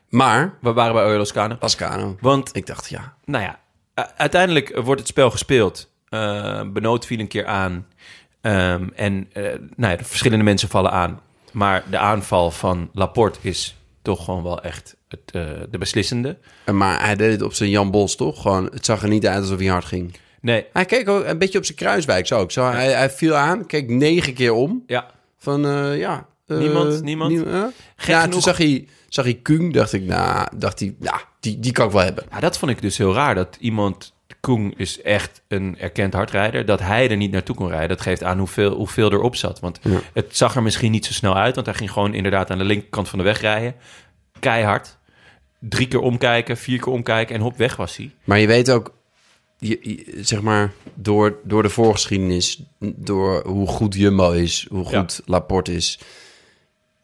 Maar,
we waren bij Oyo Loscano.
Lascano.
Want,
Ik dacht, ja.
nou ja, u- uiteindelijk wordt het spel gespeeld. Eh, Benoot viel een keer aan. Ehm, en eh, nou ja, de verschillende mensen vallen aan. Maar de aanval van Laporte is toch gewoon wel echt het, eh, de beslissende.
Maar hij deed het op zijn Jan Bos, toch? Gewoon, het zag er niet uit alsof hij hard ging.
Nee,
Hij keek ook een beetje op zijn kruiswijk, zo ook. Zo, hij, hij viel aan, keek negen keer om.
ja,
Van, eh, ja... eh,
Niemand, niemand.
nie- eh?
Gek
ja, toen
genoeg-
zag hij, zag hij Kung, dacht ik, nou, dacht hij, nou, die, die kan ik wel hebben.
Ja, dat vond ik dus heel raar. Dat iemand, Koen is echt een erkend hardrijder, dat hij er niet naartoe kon rijden. Dat geeft aan hoeveel, hoeveel erop zat. Want het zag er misschien niet zo snel uit, want hij ging gewoon inderdaad aan de linkerkant van de weg rijden. Keihard. Drie keer omkijken, vier keer omkijken en hop, weg was hij.
Maar je weet ook, je, je- zeg maar, door, door de voorgeschiedenis, door hoe goed Jumbo is, hoe
Ja.
goed Laporte is.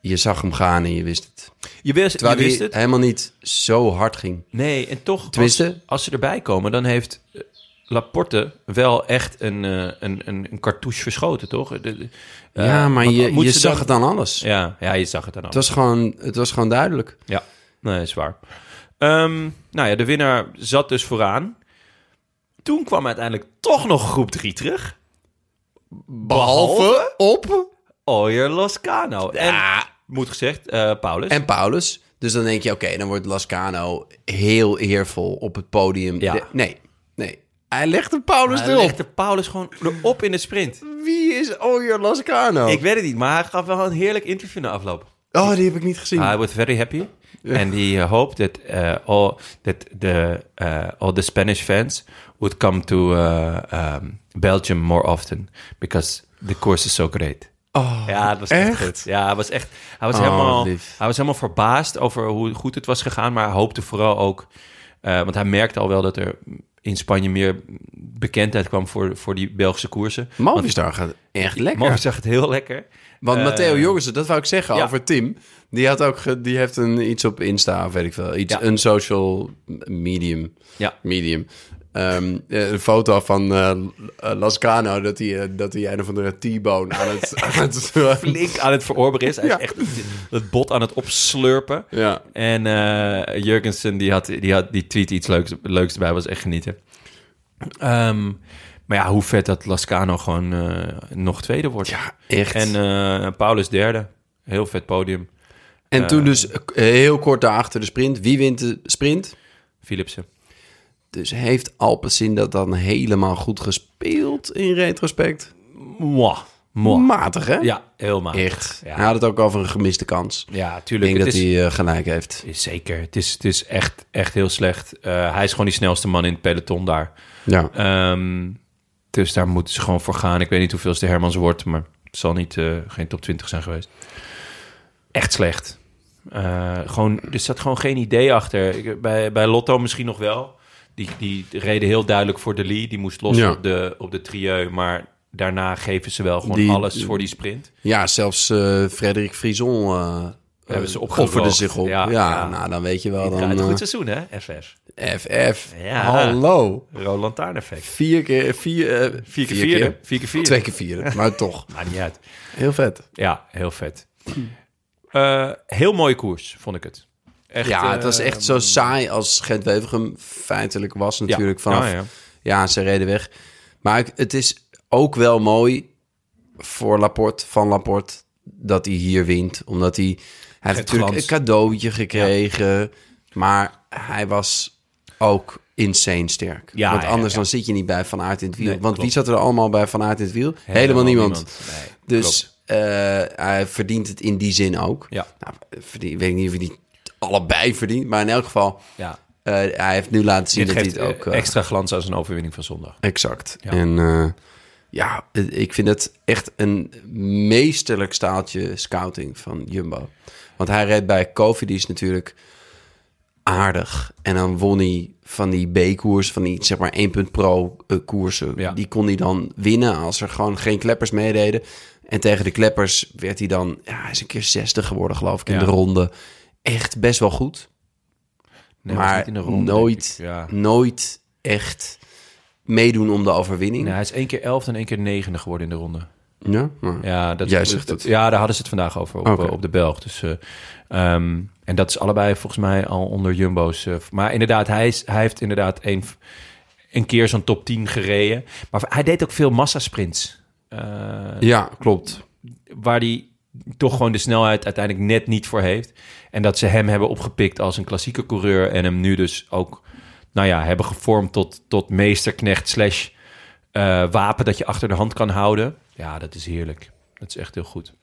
Je zag hem gaan en je wist het.
Je wist, je
Terwijl
wist
hij
het?
helemaal niet zo hard ging.
Nee, en toch, als,
Tenminste-
als ze erbij komen, dan heeft eh, Laporte wel echt een, eh, een, een, een cartouche verschoten, toch? De- de- eh,
ja, maar
want
je,
moet
je
ze
zag
dan-
het aan alles.
Ja, ja, je zag het dan al.
Het, was gewoon, het was gewoon duidelijk.
Ja, nee, is waar. Ehm, nou ja, de winnaar zat dus vooraan. Toen kwam uiteindelijk toch nog groep 3 terug.
Behalve op
Oyer Loscano. En, moet gezegd, eh, Paulus.
en Paulus. Dus dan denk je, oké, dan wordt Lascano heel eervol op het podium.
Ja.
De- nee, nee. Hij legde Paulus
Hij
erop.
legde Paulus gewoon erop in de sprint.
Wie is Oyer Lascano?
Ik weet het niet, maar hij gaf wel een heerlijk interview na afloop.
Oh, die heb ik niet gezien.
I was very happy. And he uh, hoped that uh, all that the uh, all the Spanish fans would come to uh, um, Belgium more often because the course is so great.
Oh,
Ja, het was echt,
echt?
goed. Ja, hij was echt. Hij was,
Oh,
helemaal,
lief.
hij was helemaal verbaasd over hoe goed het was gegaan, maar hij hoopte vooral ook. eh, want hij merkte al wel dat er in Spanje meer bekendheid kwam voor, voor die Belgische koersen.
Movistar gaat echt lekker.
Mooi zag het heel lekker.
Want
Eh,
Matteo Jorgensen, dat wou ik zeggen
ja.
over Tim. Die, had ook ge- die heeft een, iets op Insta of weet ik veel. Iets,
Ja.
Een social medium.
Ja.
medium. Ehm, eh, een foto van eh, eh, Lascano dat hij, eh, dat hij een of andere T-bone aan het... aan het
Flink aan het verorberen is. Hij
Ja.
is echt het bot aan het opslurpen.
Ja.
En eh Jurgensen, die had, die had die tweet iets leuks, leuks erbij, was echt genieten. Ehm, maar ja, hoe vet dat Lascano gewoon eh, nog tweede wordt.
ja, echt.
En
En,
eh, Paulus derde. Heel vet podium.
toen dus eh, heel kort daarachter de sprint. Wie wint de sprint?
Philipsen.
Dus heeft Alpecin dat dan helemaal goed gespeeld in retrospect?
Mwah. Mwah.
Matig, hè?
Ja, heel matig.
Echt.
Ja.
Hij had het ook over een gemiste kans.
Ja,
Ik
tuurlijk.
denk
het
dat
is,
hij eh, gelijk heeft.
is zeker. Het is, het is echt, echt heel slecht. Eh, hij is gewoon die snelste man in het peloton daar.
Ja.
Ehm, dus daar moeten ze gewoon voor gaan. Ik weet niet hoeveel de Hermans wordt, maar het zal niet, eh, geen top 20 zijn geweest. Echt slecht. Eh, gewoon, er zat gewoon geen idee achter. Ik- bij, bij Lotto misschien nog wel. Die, die reden heel duidelijk voor de Lee. Die moest los
Ja.
op, de, op de trieu. Maar daarna geven ze wel gewoon
Die-
alles voor die sprint.
Ja, zelfs eh Frederik Frison eh,
Hebben ze
eh,
opgedroogd.
offerde zich op. Ja,
Ja, ja.
nou dan weet je wel.
Het
Dan,
draait een goed
eh,
seizoen, hè? FF.
FF.
Ja.
Hallo.
Roland Taarneffect.
Vier keer vier, eh,
Vier keer vierde. Vier keer vierde.
Twee keer vierde, maar toch.
Maakt niet uit.
Heel vet.
Ja, heel vet. Eh, heel mooie koers, vond ik het. Echt,
ja, het
eh,
was echt zo saai als Gent-Wevergem feitelijk was
ja. Oh,
natuurlijk. Vanaf,
Ja, ja.
Ja, ze reden weg. Maar ik- het is ook wel mooi voor Laporte, van Laporte, dat hij hier wint. Omdat hij, hij heeft natuurlijk
glans.
een cadeautje gekregen. Maar hij was ook insane sterk.
Ja,
Want
ja,
anders
ja.
dan zit je niet bij Van Aert in het wiel.
Nee,
Want
klopt.
wie zat er allemaal bij Van Aert in het wiel? Helemaal niemand.
Nee, klopt.
Dus eh, hij verdient het in die zin ook.
Ja.
Nou, verdien- weet ik niet of hij die allebei verdient. Maar in elk geval,
ja.
eh, hij heeft nu laten zien
Dit
dat
geeft
hij het ook...
eh,
eh,
extra glans aan zijn overwinning van zondag.
Exact.
Ja.
En eh, ja, eh, ik vind het echt een meesterlijk staaltje scouting van Jumbo. Want hij reed bij Covidis natuurlijk aardig. En dan won hij van die B-koers, van die zeg maar 1 punt pro eh, koersen.
Ja.
Die kon hij dan winnen als er gewoon geen kleppers meededen. En tegen de kleppers werd hij dan, ja, hij is een keer 60 geworden geloof ik in
Ja.
de ronde. Echt best wel goed.
Nee, was
maar
niet in de ronde,
nooit,
denk ik. Ja.
nooit echt meedoen om de overwinning.
Nee, hij is één keer elfde en één keer negende geworden in de ronde.
Ja, maar-
Ja, dat,
Jij zegt het.
Ja, daar hadden ze het vandaag over op,
Oké.
eh, op de Belg. Dus, eh, ehm, en dat is allebei volgens mij al onder Jumbo's. eh, maar inderdaad, hij, is, hij heeft inderdaad een, een keer zo'n top 10 gereden. Maar hij deed ook veel massasprints. Eh,
ja klopt.
waar hij toch gewoon de snelheid uiteindelijk net niet voor heeft. En dat ze hem hebben opgepikt als een klassieke coureur... en hem nu dus ook, nou ja, hebben gevormd tot, tot meesterknecht... slash eh, wapen dat je achter de hand kan houden. Ja, dat is heerlijk. Dat is echt heel goed.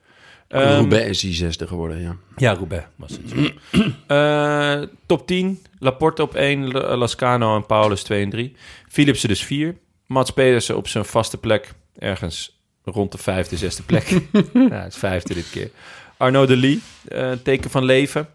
Ehm,
Roubaix is die zesde geworden, ja.
Ja, Roubaix was het. Eh, top 10. Laporte op 1, L- eh, Lascano en Paulus 2 en 3. Philipsen dus 4. Mats Pedersen op zijn vaste plek. Ergens rond de vijfde, zesde plek. ja, het is vijfde dit keer. Arnaud de Lee, eh, teken van leven.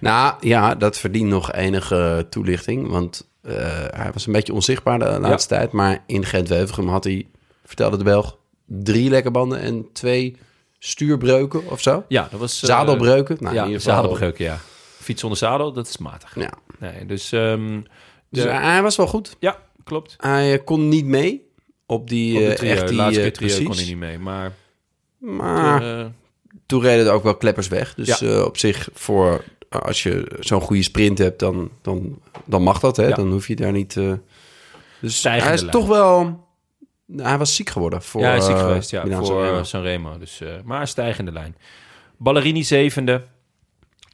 Nou ja, dat verdient nog enige toelichting. Want eh, hij was een beetje onzichtbaar de laatste tijd. Maar in Gent-Wevelgem had hij, vertelde de Belg, drie lekke banden en twee stuurbreuken of zo.
Ja, dat was... eh,
Zadelbreuken. Nou,
ja,
in ieder geval.
zadelbreuken, ja. Fiets zonder zadel, dat is matig.
Ja.
Nee, dus... ehm,
Dus
de-
hij was wel goed.
ja, klopt.
Hij eh, kon niet mee op die,
Op de
eh,
trio,
echt die
laatste
eh,
keer trio
precies. Ah.
kon hij niet mee, maar...
Maar
eh,
toen reden er ook wel kleppers weg. Dus
Ja.
eh, op zich voor eh, als je zo'n goede sprint hebt, dan, dan, dan mag dat. Hè?
Ja.
Dan hoef je daar niet. eh, dus
Stijgende
hij is
lijn.
toch wel. Hij was ziek geworden voor.
ja, hij is ziek
eh,
geweest, ja,
Milaan
voor
Sanremo.
eh, Sanremo. Dus, eh, maar stijgende lijn. Ballerini zevende.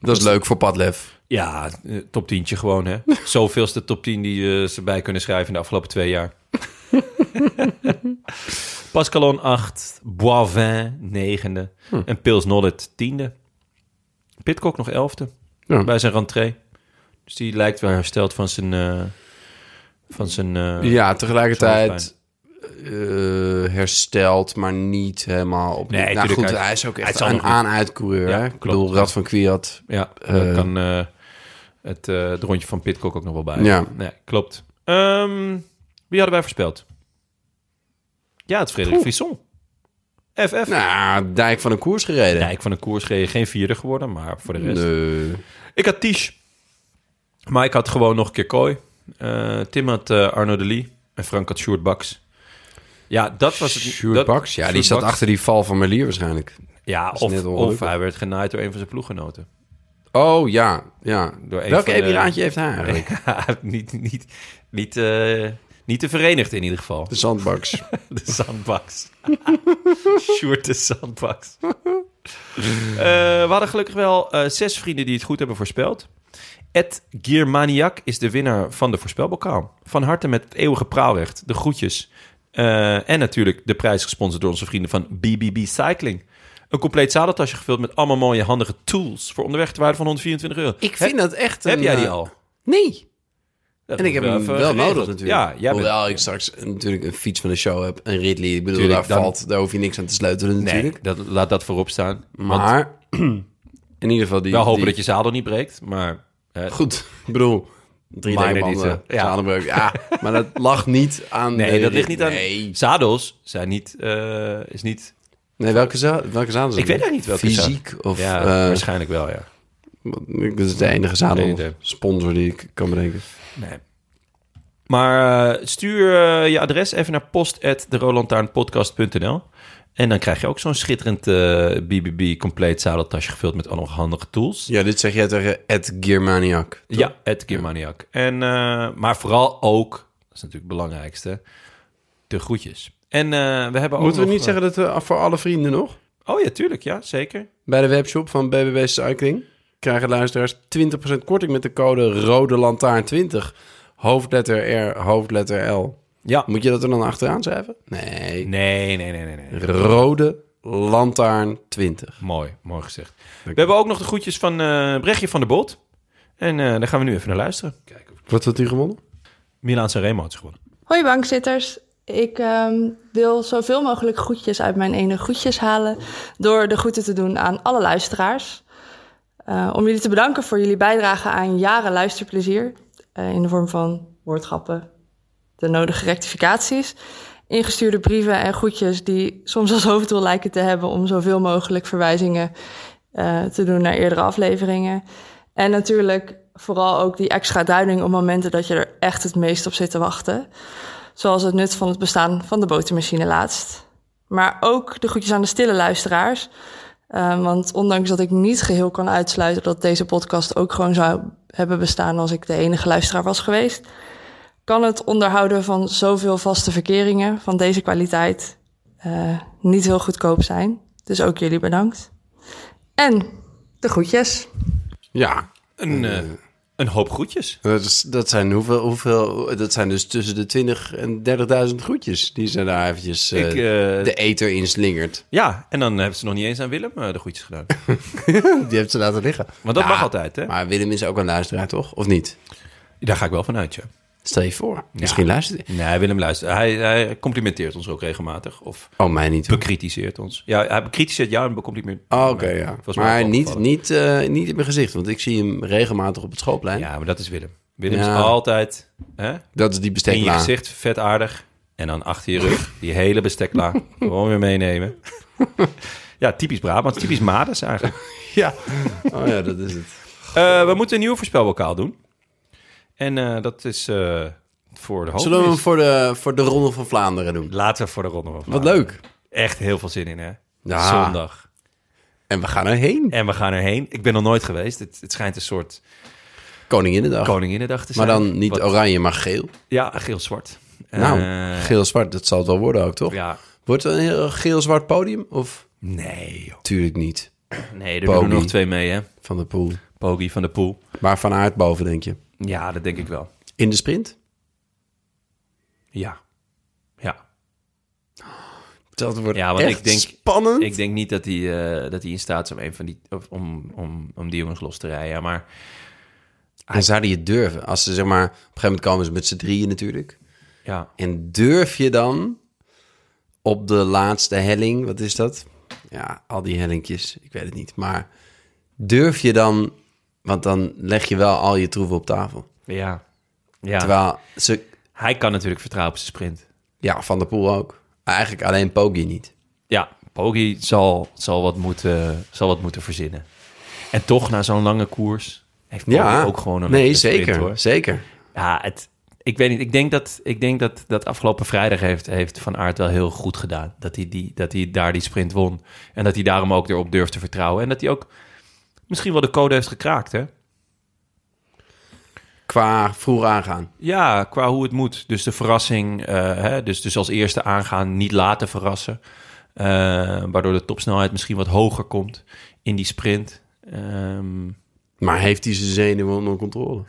dat is leuk voor Padlef.
Ja, eh, top tientje gewoon, hè. Zoveelste top 10 die eh, ze bij kunnen schrijven in de afgelopen twee jaar. Pascalon 8, Boivin 9e
Hm.
en Pils Nollet 10e. Pitcock nog 11e
Ja.
bij zijn rentree. Dus die lijkt wel hersteld van zijn. eh, van zijn eh,
Ja, tegelijkertijd eh, hersteld, maar niet helemaal op.
Nee,
nou,
tuurlijk,
goed,
hij-
hij, is ook
hij
echt
zal
een
nog niet-
aan-uit-coureur.
Ja,
hè? Ik
klopt.
bedoel, Rad van Kwiat.
Ja, daar
Eh,
kan eh, het, eh, het rondje van Pitcock ook nog wel bij.
Ja.
Nee, klopt. Ehm, wie hadden wij voorspeld? Ja, het Frederik Frisson. FF.
Nou, dijk van een koers gereden.
Dijk van de koers gereden. Geen vierde geworden, maar voor de rest.
Nee.
Ik had Ties. Maar ik had gewoon nog een keer Kooi. Eh, Tim had eh, Arno de Lee. En Frank had Sjoerd Baks. Ja, dat was het.
Sjoerd
dat-
Baks? Ja, die
Sjoerd
zat
Baks.
achter die val van Melier waarschijnlijk.
Ja,
is
of,
net
of
ongelukkig.
hij werd genaaid door een van zijn ploeggenoten.
Oh ja, ja.
Door een
Welk
van de-
emilaatje heeft hij eigenlijk?
Ja, niet, niet, niet, eh, niet te verenigd in ieder geval.
De zandbaks.
De zandbaks. Sjoerd de zandbaks. Eh, we hadden gelukkig wel eh, zes vrienden die het goed hebben voorspeld. Ed Giermaniak is de winnaar van de voorspelbokaal. Van harte met het eeuwige praalrecht, de groetjes. Eh, en natuurlijk de prijs gesponsord door onze vrienden van BBB Cycling. Een compleet zadeltasje gevuld met allemaal mooie handige tools... voor onderweg te waarde van 124 euro.
ik vind dat echt.
Heb
een,
jij die
eh,
al?
Nee.
Dat
En ik
moeten
heb
we
hem
even
wel
geregeld.
nodig natuurlijk.
Ja, jij bent-
Hoewel ik straks natuurlijk een fiets van de show heb. Een Ridley. Ik bedoel,
Tuurlijk,
daar,
dan-
valt, daar hoef je niks aan te sleutelen
Nee,
natuurlijk.
dat, laat dat voorop staan. Want
Maar in ieder geval die.
wel hopen
die-
dat je zadel niet breekt, maar... eh,
Goed, ik bedoel. Drie
Minor
dagenbanden,
detail, ja.
zadelbreuk. Ja, maar dat lag niet aan...
nee,
de-
dat ligt niet aan...
Nee,
Zadels zijn niet... eh, is niet
nee welke, za welke zadel is
ik weet
het?
eigenlijk niet welke zadel.
Fysiek of...
Ja,
eh,
waarschijnlijk wel, ja.
dat is de enige
Geen idee.
zadel sponsor die ik kan bedenken.
Nee. Maar eh, stuur eh, je adres even naar post.derolantaarnpodcast.nl en dan krijg je ook zo'n schitterend eh, BBB compleet zadeltasje gevuld met allemaal handige tools.
Ja, dit zeg jij tegen Ed Gearmaniac.
Ja, Ed Giermaniak. En, eh, maar vooral ook, dat is natuurlijk het belangrijkste, de groetjes. En eh, we hebben ook
Moeten we
nog,
niet
eh,
zeggen dat we voor alle vrienden nog?
Oh ja, tuurlijk, ja, zeker.
Bij de webshop van BBB Cycling krijgen luisteraars 20% korting met de code Rode Lantaarn 20. Hoofdletter R, hoofdletter L.
Ja.
Moet je dat er dan achteraan schrijven? Nee.
Nee, nee, nee, nee. nee.
Rode Lantaarn 20.
Mooi, mooi gezegd. We hebben ook nog de groetjes van eh Brechtje van der Bot. En eh, daar gaan we nu even naar luisteren.
Wat had hij gewonnen?
Milaan Sanremo is gewonnen.
Hoi bankzitters. Ik ehm, wil zoveel mogelijk groetjes uit mijn ene groetjes halen... door de groeten te doen aan alle luisteraars. Eh, eh, om jullie te bedanken voor jullie bijdrage aan jaren luisterplezier. eh, in de vorm van woordgrappen, de nodige rectificaties, ingestuurde brieven en groetjes die soms als hoofddoel lijken te hebben om zoveel mogelijk verwijzingen eh, te doen naar eerdere afleveringen. En natuurlijk vooral ook die extra duiding op momenten dat je er echt het meest op zit te wachten. Zoals het nut van het bestaan van de botermachine laatst. Maar ook de groetjes aan de stille luisteraars. Eh, want ondanks dat ik niet geheel kan uitsluiten dat deze podcast ook gewoon zou hebben bestaan als ik de enige luisteraar was geweest, kan het onderhouden van zoveel vaste verkeringen van deze kwaliteit eh, niet heel goedkoop zijn. Dus ook jullie bedankt. En de groetjes.
Ja,
Een, eh, een hoop groetjes.
dat, is- dat zijn hoeveel, hoeveel... Dat zijn dus tussen de 20 en 30.000 groetjes die ze daar eventjes eh,
Ik, eh,
de eter in slingert.
Ja, en dan hebben ze nog niet eens aan Willem eh, de groetjes gedaan.
Die heeft ze laten liggen.
Want dat
Ja,
mag altijd, hè?
Maar Willem is ook een luisteraar, toch? Of niet?
Daar ga ik wel van uit, ja.
Stel je voor. Misschien luistert hij.
Nee, Willem luistert. Hij, hij complimenteert ons ook regelmatig. Of
Oh, mij niet.
bekritiseert ons. Ja, hij bekritiseert jou en becomplimenteert
Oh, oké, ja.
Volgens mij
Maar
ook
niet,
opgevallen.
niet, eh, niet in mijn gezicht, want ik zie hem regelmatig op het schoolplein.
Ja, maar dat is Willem. Willem
Ja.
is altijd hè,
Dat is die
in je
bestekla.
gezicht vet aardig. En dan achter je rug die hele bestekla gewoon weer meenemen. ja, typisch Brabant. Typisch Mades eigenlijk.
Ja. Oh ja, dat is het.
Eh, we moeten een nieuw voorspelbokaal doen. En eh, dat is eh, voor de hoofd.
Zullen we hem voor de, voor de Ronde van Vlaanderen doen?
Laten we voor de ronde van
Wat
Vlaanderen.
leuk.
Echt heel veel zin in, hè?
Ja.
Zondag.
En we gaan erheen.
En we gaan erheen. Ik ben nog nooit geweest. Het, het schijnt een soort
Koninginnedag.
Koninginnedag te
maar
zijn.
dan niet
Wat-
oranje, maar geel.
Ja, geel-zwart.
nou,
Eh,
geel-zwart, dat zal het wel worden ook, toch?
Ja.
Wordt het een heel geel-zwart podium? Of?
Nee, joh.
Tuurlijk niet.
Nee, er
Poggi.
doen er nog twee mee, hè?
Van de pool.
Pogi van de Poel.
Maar van aard boven, denk je?
Ja, dat denk ik wel.
In de sprint?
Ja. Ja.
Dat wordt
Ja, want
echt
ik denk-
spannend.
Ik denk niet dat hij, eh, dat hij in staat is om, een van die, of om, om, om die jongens los te rijden. Maar
En zouden je het durven? Als ze zeg maar, op een gegeven moment komen ze met z'n drieën natuurlijk.
ja,
En durf je dan op de laatste helling, wat is dat? Ja, al die hellinkjes, ik weet het niet. Maar durf je dan, want dan leg je wel al je troeven op tafel.
ja, ja.
Terwijl ze,
Hij kan natuurlijk vertrouwen op zijn sprint.
ja, Van der Poel ook. Eigenlijk alleen Poggi niet.
Ja, Pogi zal, zal, wat moeten, zal wat moeten verzinnen. En toch, na zo'n lange koers, heeft Poggi ook gewoon een
Nee,
lekkere sprint,
zeker,
hoor.
zeker.
Ja, het, ik weet niet. Ik denk dat, ik denk dat, dat afgelopen vrijdag heeft, heeft Van Aert wel heel goed gedaan. Dat hij, die, dat hij daar die sprint won. En dat hij daarom ook erop durft te vertrouwen. En dat hij ook misschien wel de code heeft gekraakt, hè?
Qua vroeg aangaan.
Ja, qua hoe het moet. Dus de verrassing, eh, hè, dus, dus als eerste aangaan, niet laten verrassen. Eh, waardoor de topsnelheid misschien wat hoger komt in die sprint. Ehm,
Maar heeft hij zijn zenuwen onder controle?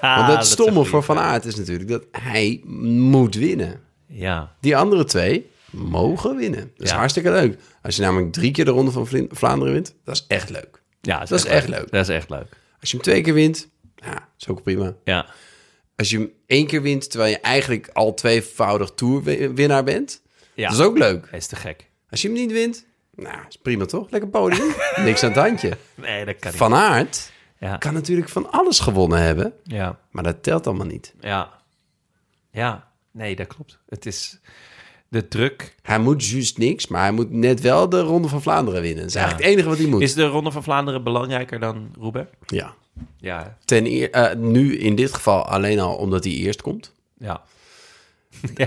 ah,
Want
dat
het stomme
zegt
voor
hij.
Van Aert is natuurlijk dat hij moet winnen.
Ja,
Die andere twee mogen winnen. Dat is
Ja.
hartstikke leuk. Als je namelijk drie keer de Ronde van Vlin- Vlaanderen wint, dat is echt leuk.
ja
Dat is echt leuk.
Dat is echt leuk.
Als je hem twee keer wint, ja, is ook prima.
Ja,
Als je hem één keer wint, terwijl je eigenlijk al tweevoudig toerwinnaar bent,
ja.
dat is ook leuk.
Hij is te gek.
Als je hem niet wint, nou, is prima toch? Lekker podium. Niks aan het handje.
Nee, dat kan niet.
Van Aert
Ja.
kan natuurlijk van alles gewonnen hebben,
Ja,
maar dat telt allemaal niet.
ja. Ja, nee, dat klopt. Het is de druk.
Hij moet juist niks, maar hij moet net wel de Ronde van Vlaanderen winnen. Dat is eigenlijk het enige wat hij moet.
Is de Ronde van Vlaanderen belangrijker dan Roubaix?
Ja.
Ja,
Ten eer, eh, nu in dit geval alleen al omdat hij eerst komt.
ja.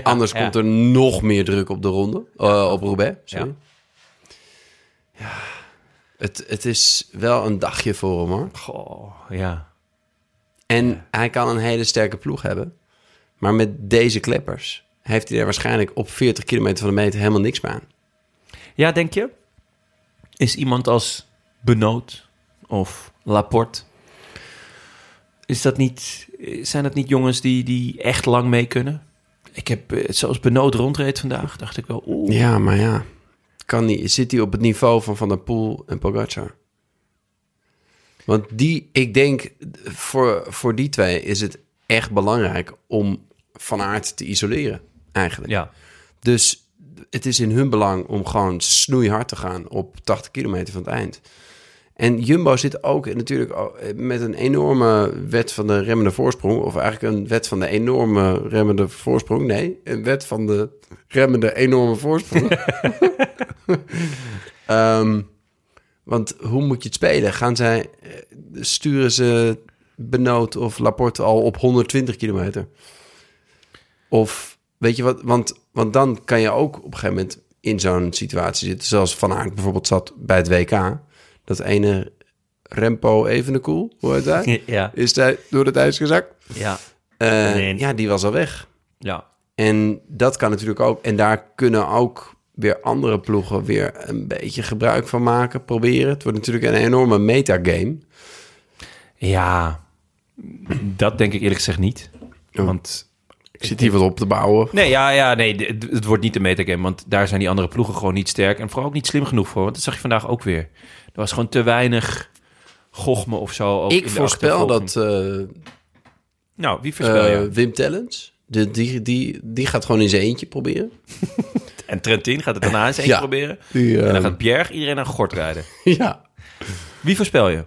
Anders
ja.
komt er nog meer druk op de ronde. eh, op Roubaix, sorry. Ja.
Ja.
Het, het is wel een dagje voor hem, hoor.
Goh, ja.
En hij kan een hele sterke ploeg hebben. Maar met deze kleppers heeft hij er waarschijnlijk op 40 kilometer van de meter helemaal niks meer aan.
Ja, denk je? Is iemand als Benoot of Laporte... Is dat niet, zijn dat niet jongens die, die echt lang mee kunnen? Ik heb, eh, zoals Benoot rondreed vandaag, dacht ik wel... Oeh,
Ja, maar ja. Kan niet. Zit hij op het niveau van Van der Poel en Pogacar? Want die, ik denk, voor, voor die twee is het echt belangrijk om Van Aert te isoleren, eigenlijk.
ja.
Dus het is in hun belang om gewoon snoeihard te gaan op 80 kilometer van het eind. En Jumbo zit ook natuurlijk al- eh, met een enorme wet van de remmende voorsprong. Of eigenlijk een wet van de enorme remmende voorsprong. Nee, een wet van de remmende enorme voorsprong. Ehm, want hoe moet je het spelen? Gaan zij, eh, sturen ze Benoot of Laporte al op 120 kilometer? Of weet je wat, want, want dan kan je ook op een gegeven moment in zo'n situatie zitten. Zoals Van Aert bijvoorbeeld zat bij het WK. Dat ene Rempo Evenepoel, hoe heet hij?
Ja,
Is hij door het ijs gezakt?
ja,
Eh,
Nee.
Ja, die was al weg.
ja.
En dat kan natuurlijk ook. En daar kunnen ook weer andere ploegen weer een beetje gebruik van maken, proberen. Het wordt natuurlijk een enorme metagame.
Ja, dat denk ik eerlijk gezegd niet.
Oh.
Want
Ik zit hier wat op te bouwen.
Nee, ja, ja, nee, d- d- het wordt niet de metagame. Want daar zijn die andere ploegen gewoon niet sterk. En vooral ook niet slim genoeg voor. Want dat zag je vandaag ook weer. Er was gewoon te weinig gochme of zo. ook in
Ik
de
voorspel
achtervolging.
dat eh,
Nou, wie voorspel
eh,
je?
Wim Tellens, de, die, die, die gaat gewoon in zijn eentje proberen.
En Trentin gaat het daarna eens één
Ja.
proberen.
Die,
En dan
eh,
gaat Pierre iedereen aan gort rijden.
ja.
Wie voorspel je?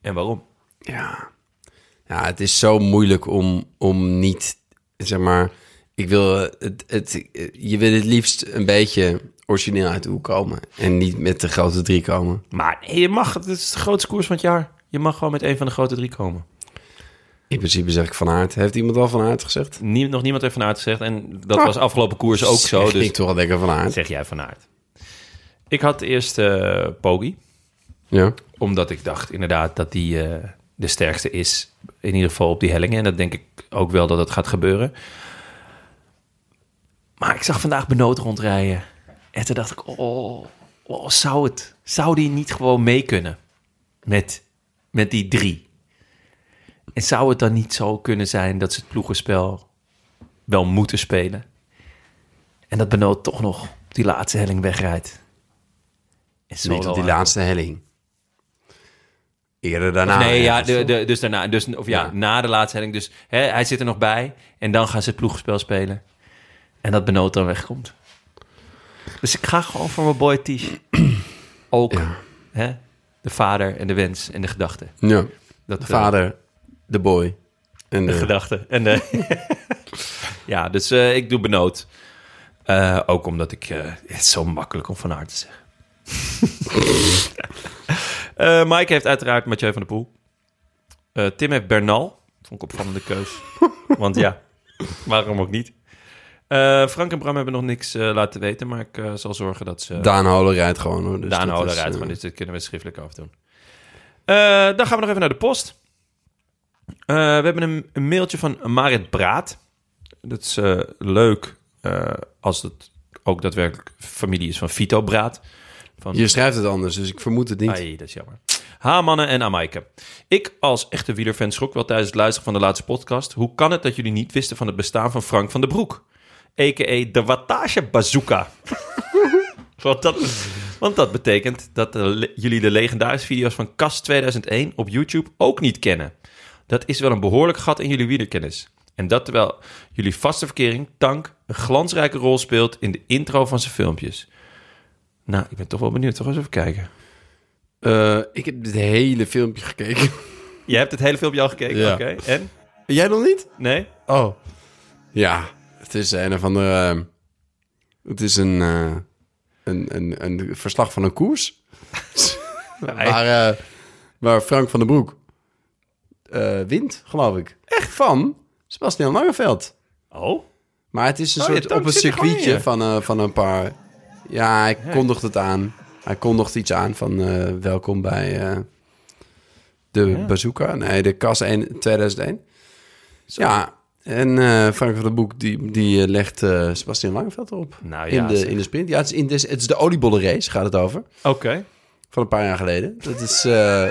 En waarom?
ja. Ja, het is zo moeilijk om, om niet, zeg maar... Ik wil eh, het, het, eh, je wil het liefst een beetje origineel uit de hoek komen. En niet met de grote drie komen.
Maar nee, je mag, het is de grootste koers van het jaar. Je mag gewoon met een van de grote drie komen.
In principe zeg ik Van Aert. Heeft iemand al Van Aert gezegd?
Nie- nog niemand heeft Van Aert gezegd. En dat was afgelopen koers ook zo.
Zeg
Dus
Ik toch wel lekker Van Aert.
zeg jij Van Aert. Ik had eerst eh Poggi.
Ja.
Omdat ik dacht inderdaad dat die eh, de sterkste is. In ieder geval op die hellingen. En dat denk ik ook wel dat dat gaat gebeuren. Maar ik zag vandaag Benoot rondrijden. En toen dacht ik, oh, oh, zou het? Zou die niet gewoon mee kunnen? Met, met die drie. En zou het dan niet zo kunnen zijn dat ze het ploegenspel wel moeten spelen? En dat Benoot toch nog op die laatste helling wegrijdt? En solo
Niet op die
aan-
laatste helling. Eerder daarna.
nee, Nou, ja,
ergens.
de, de, dus daarna. Dus, of ja,
Ja.
na de laatste helling. Dus hè, hij zit er nog bij. En dan gaan ze het ploegenspel spelen. En dat Benoot dan wegkomt. Dus ik ga gewoon voor mijn boy Tisch. Ook. Hè, de vader en de wens en de gedachte.
Ja.
Dat,
De
eh,
vader, de boy. En de,
de gedachte. En, eh, ja, dus eh, ik doe Benoot. Eh, ook omdat ik... eh, het is zo makkelijk om van haar te zeggen. Eh, Mike heeft uiteraard Mathieu van der Poel. Eh, Tim heeft Bernal. Vond ik opvallende keus. Want ja, waarom ook niet? Eh, Frank en Bram hebben nog niks eh, laten weten, maar ik eh, zal zorgen dat ze...
Daan Holer rijdt gewoon hoor. Dus
Daan
dat
Holler
is,
uit,
eh,
maar dit, dit kunnen we schriftelijk afdoen. Eh, dan gaan we nog even naar de post. Eh, we hebben een, een mailtje van Marit Braat. Dat is eh, leuk eh, als het ook daadwerkelijk familie is van Vito Braat. Van
Je schrijft het anders, dus ik vermoed het niet.
Ai, dat is jammer. H-mannen en Amaike. Ik als echte wielerfan schrok wel tijdens het luisteren van de laatste podcast. Hoe kan het dat jullie niet wisten van het bestaan van Frank van den Broek? A.k.a. de Wattage Bazooka. want, dat, want dat betekent dat de le- jullie de legendarische video's van Kast 2001 op YouTube ook niet kennen. Dat is wel een behoorlijk gat in jullie wielerkennis. En dat terwijl jullie vaste verkering, Tank, een glansrijke rol speelt in de intro van zijn filmpjes. Nou, ik ben toch wel benieuwd. Toch eens even kijken.
Eh, ik heb dit hele filmpje gekeken.
Je hebt het hele filmpje al gekeken,
Ja.
oké. En?
Jij nog niet?
Nee?
Oh. Ja, het is een of andere... ehm, het is een, eh, een, een, een verslag van een koers. waar, eh, waar Frank van den Broek eh, wint, geloof ik. Echt? Van Sebastian Langeveld.
Oh?
Maar het is een
Oh, je
soort
tong
op een
zit er gewoon
circuitje
in.
van, eh, van een paar. Ja, hij kondigt het aan. Hij kondigt iets aan van eh, welkom bij eh, de bazooka. Nee, de kas 1, 2001. Ja, en eh, Frank van den Boek die, die eh, legt eh, Sebastian Langeveld op.
Nou
in,
ja,
de,
zeg.
in de sprint. Ja, het is, in de, het is de oliebollenrace, gaat het over.
Oké.
Van een paar jaar geleden. Dat is, eh,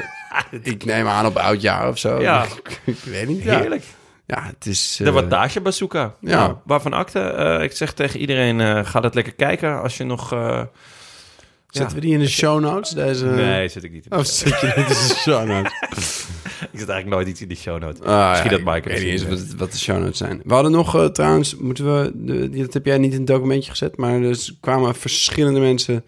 ik neem aan op oud jaar of zo.
Ja.
ik weet niet. Ja.
Heerlijk.
ja, het is...
De
eh,
wattage bazooka.
Ja.
Nou, waarvan akte. Eh, ik zeg tegen iedereen, eh, ga dat lekker kijken als je nog... eh,
Zetten we die in de show notes? Deze...
Nee, zit ik niet in. de
Oh,
show.
zit je dit is de show notes?
Ik zet eigenlijk nooit iets in die show notes.
Ah,
Misschien
ja,
dat Mike
Ik weet
het
niet eens
ziet.
wat, wat de show notes zijn. We hadden nog eh, trouwens, moeten we, de- die- dat heb jij niet in het documentje gezet, maar dus kwamen verschillende mensen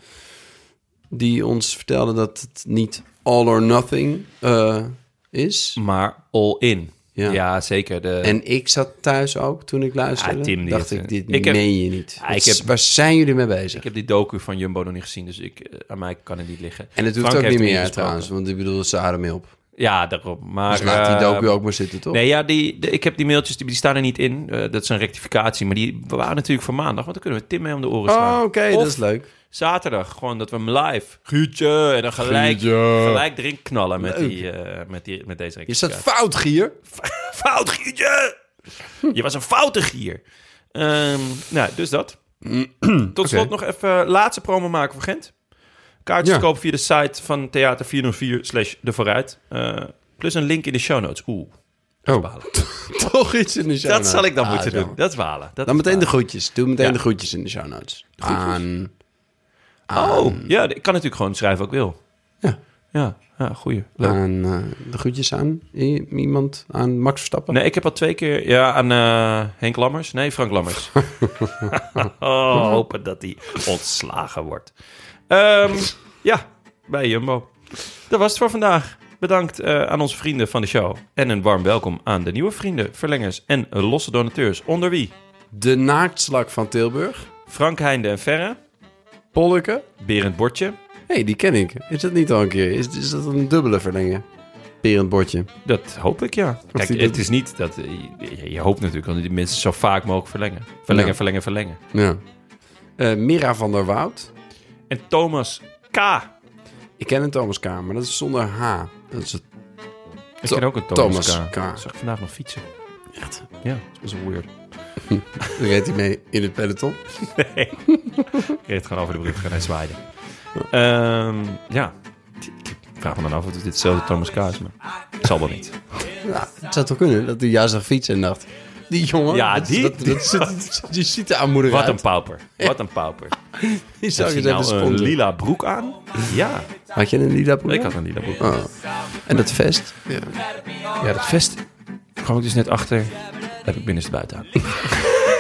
die ons vertelde dat het niet all or nothing eh, is.
Maar all in.
Ja.
Ja, zeker. De,
En ik zat thuis ook toen ik luisterde.
Ja, Tim, dit-
dacht ik, dit
ik heb-
meen je niet.
Ja, ik
Wat-
heb-
waar zijn jullie mee bezig?
ik heb die docu van Jumbo nog niet gezien, dus ik, eh, aan mij kan het niet liggen.
en het doet
Frank
ook
heeft
niet
hem
meer
gesproken.
trouwens, want ik bedoel, ze hadden mee op.
Ja, daarom. Maar,
Dus laat die
eh,
docu ook maar zitten, toch?
Nee, ja, die, de- ik heb die mailtjes, die, die staan er niet in. Eh, dat is een rectificatie, maar die waren natuurlijk voor maandag, want dan kunnen we Tim mee om de oren
oh,
slaan.
oké,
Of
dat is leuk.
Zaterdag, gewoon dat we hem live, Guutje, en dan gelijk, gelijk erin knallen met, die, eh, met, die, met deze
Je zat
rectificatie.
fout, Gier.
Fout, Guutje! Je was een foute gier. Ehm, nou, dus dat. Tot slot
Oké.
nog even eh, laatste promo maken voor Gent. Kaartjes
Ja.
kopen via de site van Theater 404 slash De Vooruit. Eh, plus een link in de show notes. Oeh,
Oh, toch iets in de show
dat
notes.
zal ik dan
Ah,
moeten
jammer.
doen. Dat is walen. Dat
Dan
is
meteen de
walen.
groetjes. Doe meteen
Ja.
de groetjes in de show notes. Aan...
Oh,
Ah.
ja, ik kan natuurlijk gewoon schrijven wat ik wil.
Ja.
Ja, ja goeie. Leuk.
Aan eh, de groetjes aan i- iemand, aan Max Verstappen.
Nee, ik heb al twee keer... Ja, aan eh, Henk Lammers. Nee, Frank Lammers. oh, hopen dat hij ontslagen wordt. Ehm, ja, bij Jumbo. Dat was het voor vandaag. Bedankt eh, aan onze vrienden van de show. En een warm welkom aan de nieuwe vrienden, verlengers en losse donateurs. Onder wie?
De naaktslak van Tilburg.
Frank Heinde en Verre,
Polleke.
Berend Bortje.
Hé, hey, die ken ik. Is dat niet al een keer? Is, is dat een dubbele verlenging? Perend bordje.
Dat hoop ik, ja. Kijk,
die
het
doet-
is niet dat... Je, je hoopt natuurlijk dat die mensen zo vaak mogelijk verlengen. Verlengen,
Ja.
verlengen, verlengen.
Ja. Eh, Mira van der Woud.
En Thomas K.
Ik ken een Thomas K, maar dat is zonder H. Dat is het
Ik
Tho-
ken ook een Thomas,
Thomas
K.
K.
Zag ik vandaag nog fietsen.
echt.
Ja, dat was weird.
Daar reed hij mee in het peloton.
Ik reed gewoon over de brug en hij zwaaide. Ehm, ja, ik vraag me dan af of dit hetzelfde Thomas K is, maar het zal wel niet.
Nou, het zou toch kunnen dat hij juist zag fietsen en dacht... Die jongen,
Ja,
dat-
die-
dat, dat, zit- die ziet er aanmoedig
Wat een
uit.
pauper, wat een pauper.
Die zou
Had
ik
je
eens even
nou een
sponsoren.
lila broek aan? Ja,
Had je een lila broek?
ik had een lila broek.
Oh. En dat vest?
Ja, dat vest kwam ik dus net achter. Heb ik binnenste buiten aan.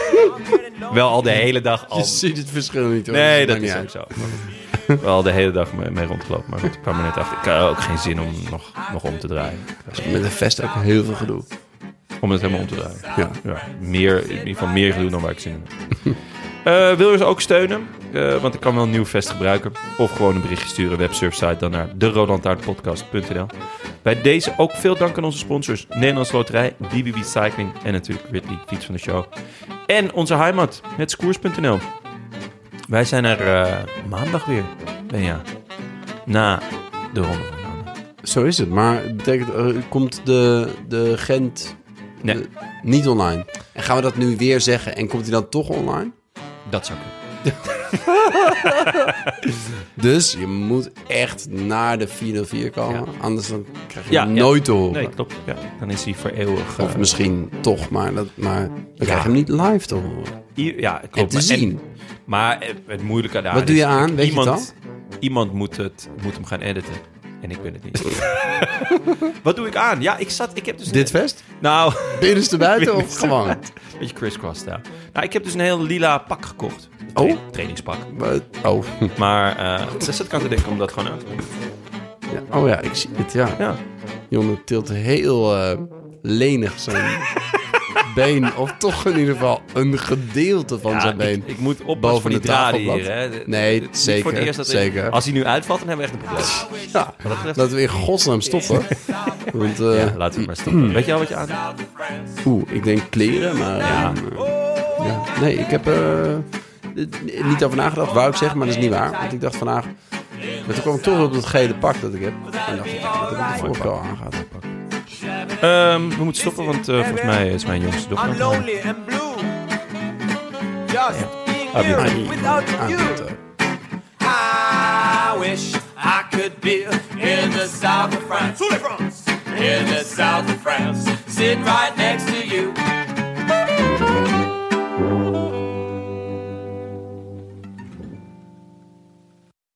wel al de hele dag al.
Je ziet het verschil niet hoor.
Nee, dat
maakt niet
is ook
uit.
zo. Maar goed. Wel de hele dag mee, mee rondgelopen, maar goed, ik kwam er net achter. Ik had ook geen zin om nog, nog om te draaien.
Met een vest ook heel veel gedoe.
Om het helemaal om te draaien.
Ja.
Ja, meer, in ieder geval meer gedoe dan waar ik zin in heb. Eh, wil je ze ook steunen? Eh, want ik kan wel een nieuw vest gebruiken. Of gewoon een berichtje sturen, websurfsite, dan naar derolantaarnpodcast.nl. Bij deze ook veel dank aan onze sponsors. Nederlands Loterij, BBB Cycling en natuurlijk Ridley, fiets van de show. En onze heimat, hetskoers.nl. Wij zijn er eh, maandag weer, ben ja. Na de ronde van maandag.
Zo is het, maar het betekent, eh, komt de, de Gent
Nee.
eh, niet online? En gaan we dat nu weer zeggen en komt hij dan toch online?
Dat zou kunnen.
Dus je moet echt naar de 404 komen, anders dan krijg je
Ja,
hem
ja.
nooit te horen.
Nee, klopt. Ja, dan is hij voor eeuwig. eh,
Of misschien toch, maar, dat, maar dan krijg je hem niet live te horen.
i- ja, klopt.
En te
Maar-
zien.
Maar eh, het moeilijke daar
Wat doe
is
je aan? Weet je het
iemand, Iemand moet, het, moet hem gaan editen. En ik ben het niet. Wat doe ik aan? Ja, ik zat... Ik heb dus
Dit vest?
Nou,
Binnenste buiten of
Binnenste
gewoon?
een beetje crisscross daar. Nou, ik heb dus een heel lila pak gekocht.
Oh.
Tra- Trainingspak.
Wat? Oh.
Maar eh dus dat kan te denken om dat gewoon aan te doen.
Ja. oh ja, ik zie het, ja.
Ja.
Jonne tilt heel eh, lenig zijn been. Of toch in ieder geval een gedeelte van
Ja,
zijn been.
ik, ik moet oppassen
boven
voor die
de
draden
tafelblad.
hier. Hè. De-
Nee,
het is niet
zeker,
Voor het eerst dat ik-
zeker.
als hij nu uitvalt, dan hebben we echt een probleem.
Ja, laten we in godsnaam stoppen. Want, eh,
Ja, laten we maar stoppen. Weet je al wat je aan
oeh, ik denk kleren, maar... eh, ja. Nee, ik heb er niet over nagedacht, wou ik zeggen, maar dat is niet waar. Want ik dacht vandaag... Maar toen kwam ik toch op dat gele pak dat ik heb. En dacht ik, ja, dat heb ik de vorige keer al aangehad.
Ehm, we moeten stoppen, want eh, volgens mij is mijn jongste dochter. aan
I'm
het huilen.
lonely and blue. Just being
I'll be
Ah,
here
fine.
without
Aan
you.
het, eh,
I wish I could be in the south of France. In the south of France, sitting right next to you.